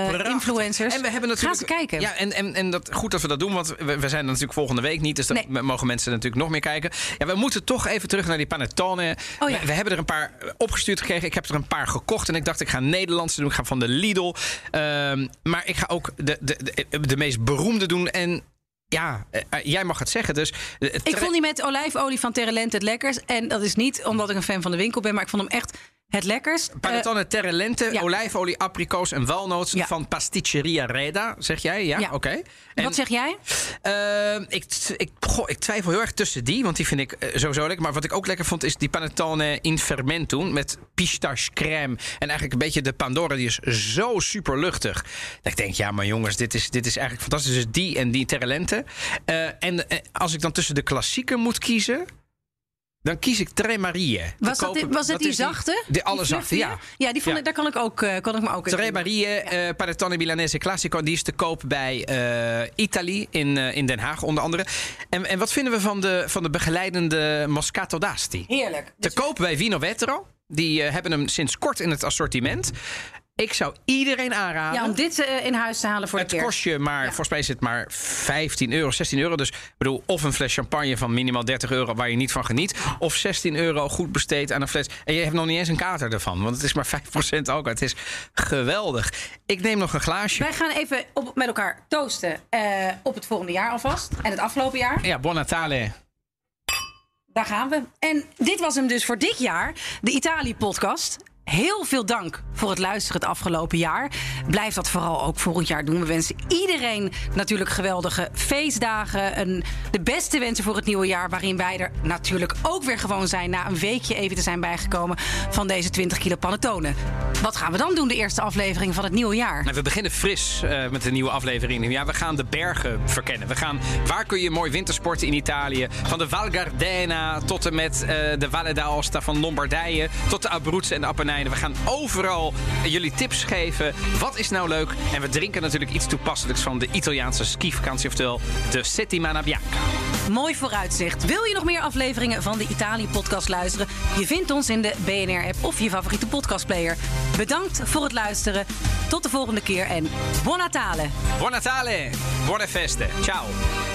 [SPEAKER 2] Prachtig.
[SPEAKER 1] influencers.
[SPEAKER 2] En we hebben natuurlijk,
[SPEAKER 1] Ga ze kijken.
[SPEAKER 2] Ja, en, en, en dat, goed dat we dat doen, want we, we zijn er natuurlijk volgende week niet. Dus dan
[SPEAKER 1] Nee.
[SPEAKER 2] mogen mensen natuurlijk nog meer kijken. Ja, we moeten toch even terug naar die panettone.
[SPEAKER 1] Oh ja.
[SPEAKER 2] we, we hebben er een paar eh, opgestuurd gekregen. Ik heb er een paar gekocht. En ik dacht, ik ga Nederlandse doen. Ik ga van de Lidl. Ehm, maar ik ga ook de, de, de, de meest beroemde doen. En ja, eh, eh, jij mag het zeggen. Dus,
[SPEAKER 1] Ik vond die met olijfolie van Terrelent het lekkers. En dat is niet omdat ik een fan van de winkel ben, maar ik vond hem echt het lekkers.
[SPEAKER 2] Panettone terre lente,
[SPEAKER 1] eh, ja.
[SPEAKER 2] olijfolie, abrikoos en walnoot
[SPEAKER 1] Ja.
[SPEAKER 2] van Pasticceria Reda, zeg jij? Ja,
[SPEAKER 1] Ja.
[SPEAKER 2] oké. En-
[SPEAKER 1] wat zeg jij?
[SPEAKER 2] Ehm, ik, ik, goh, ik twijfel heel erg tussen die, want die vind ik eh, sowieso lekker. Maar wat ik ook lekker vond is die panettone in fermento met pistache crème. En eigenlijk een beetje de Pandora, die is zo super luchtig. Dat ik denk, ja maar jongens, dit is, dit is eigenlijk fantastisch. Dus die en die Terrelente. Eh, en eh, als ik dan tussen de klassieken moet kiezen... Dan kies ik Tre Marie. Te
[SPEAKER 1] Was dat,
[SPEAKER 2] kopen-
[SPEAKER 1] die- was dat die
[SPEAKER 2] is
[SPEAKER 1] zachte?
[SPEAKER 2] Die, allerzachte, ja.
[SPEAKER 1] vluchtige? Ja, die vond
[SPEAKER 2] Ja.
[SPEAKER 1] Ik, daar kan ik, ook, eh, kan ik me ook in
[SPEAKER 2] Tre
[SPEAKER 1] vinden.
[SPEAKER 2] Marie, eh, Panettone Milanese Classico. Die is te koop bij eh Italië in, eh, in Den Haag onder andere. En, en wat vinden we van de, van de begeleidende Moscato d'Asti?
[SPEAKER 1] Heerlijk.
[SPEAKER 2] Te koop bij Vino Vetro. Die eh, hebben hem sinds kort in het assortiment. Ik zou iedereen aanraden.
[SPEAKER 1] Ja, om dit eh, in huis te halen voor
[SPEAKER 2] het
[SPEAKER 1] de kerst.
[SPEAKER 2] kost je maar, volgens mij is het maar 15 euro, 16 euro. Dus ik bedoel, of een fles champagne van minimaal 30 euro waar je niet van geniet. Of 16 euro goed besteed aan een fles. En je hebt nog niet eens een kater ervan, want het is maar 5% alcohol. Het is geweldig. Ik neem nog een glaasje.
[SPEAKER 1] Wij gaan even op, met elkaar toosten eh, op het volgende jaar alvast. En het afgelopen jaar.
[SPEAKER 2] Ja, buon Natale.
[SPEAKER 1] Daar gaan we. En dit was hem dus voor dit jaar, de Italië-podcast. Heel veel dank voor het luisteren het afgelopen jaar. Blijf dat vooral ook volgend jaar doen. We wensen iedereen natuurlijk geweldige feestdagen. Een, de beste wensen voor het nieuwe jaar. Waarin wij er natuurlijk ook weer gewoon zijn. Na een weekje even te zijn bijgekomen van deze 20 kilo panettone. Wat gaan we dan doen, de eerste aflevering van het nieuwe jaar?
[SPEAKER 2] Nou, we beginnen fris eh, met een nieuwe aflevering. Ja, we gaan de bergen verkennen. We gaan, waar kun je mooi wintersporten in Italië? Van de Val Gardena tot en met eh, de Valle d'Aosta van Lombardije... tot de Abruzzen en de Appenijnen. We gaan overal eh, jullie tips geven. Wat is nou leuk? En we drinken natuurlijk iets toepasselijks van de Italiaanse skivakantie... oftewel de Settimana Bianca.
[SPEAKER 1] Mooi vooruitzicht. Wil je nog meer afleveringen van de Italië-podcast luisteren? Je vindt ons in de BNR-app of je favoriete podcastplayer. Bedankt voor het luisteren. Tot de volgende keer en buon Natale!
[SPEAKER 2] Buon Natale, buone feste. Ciao.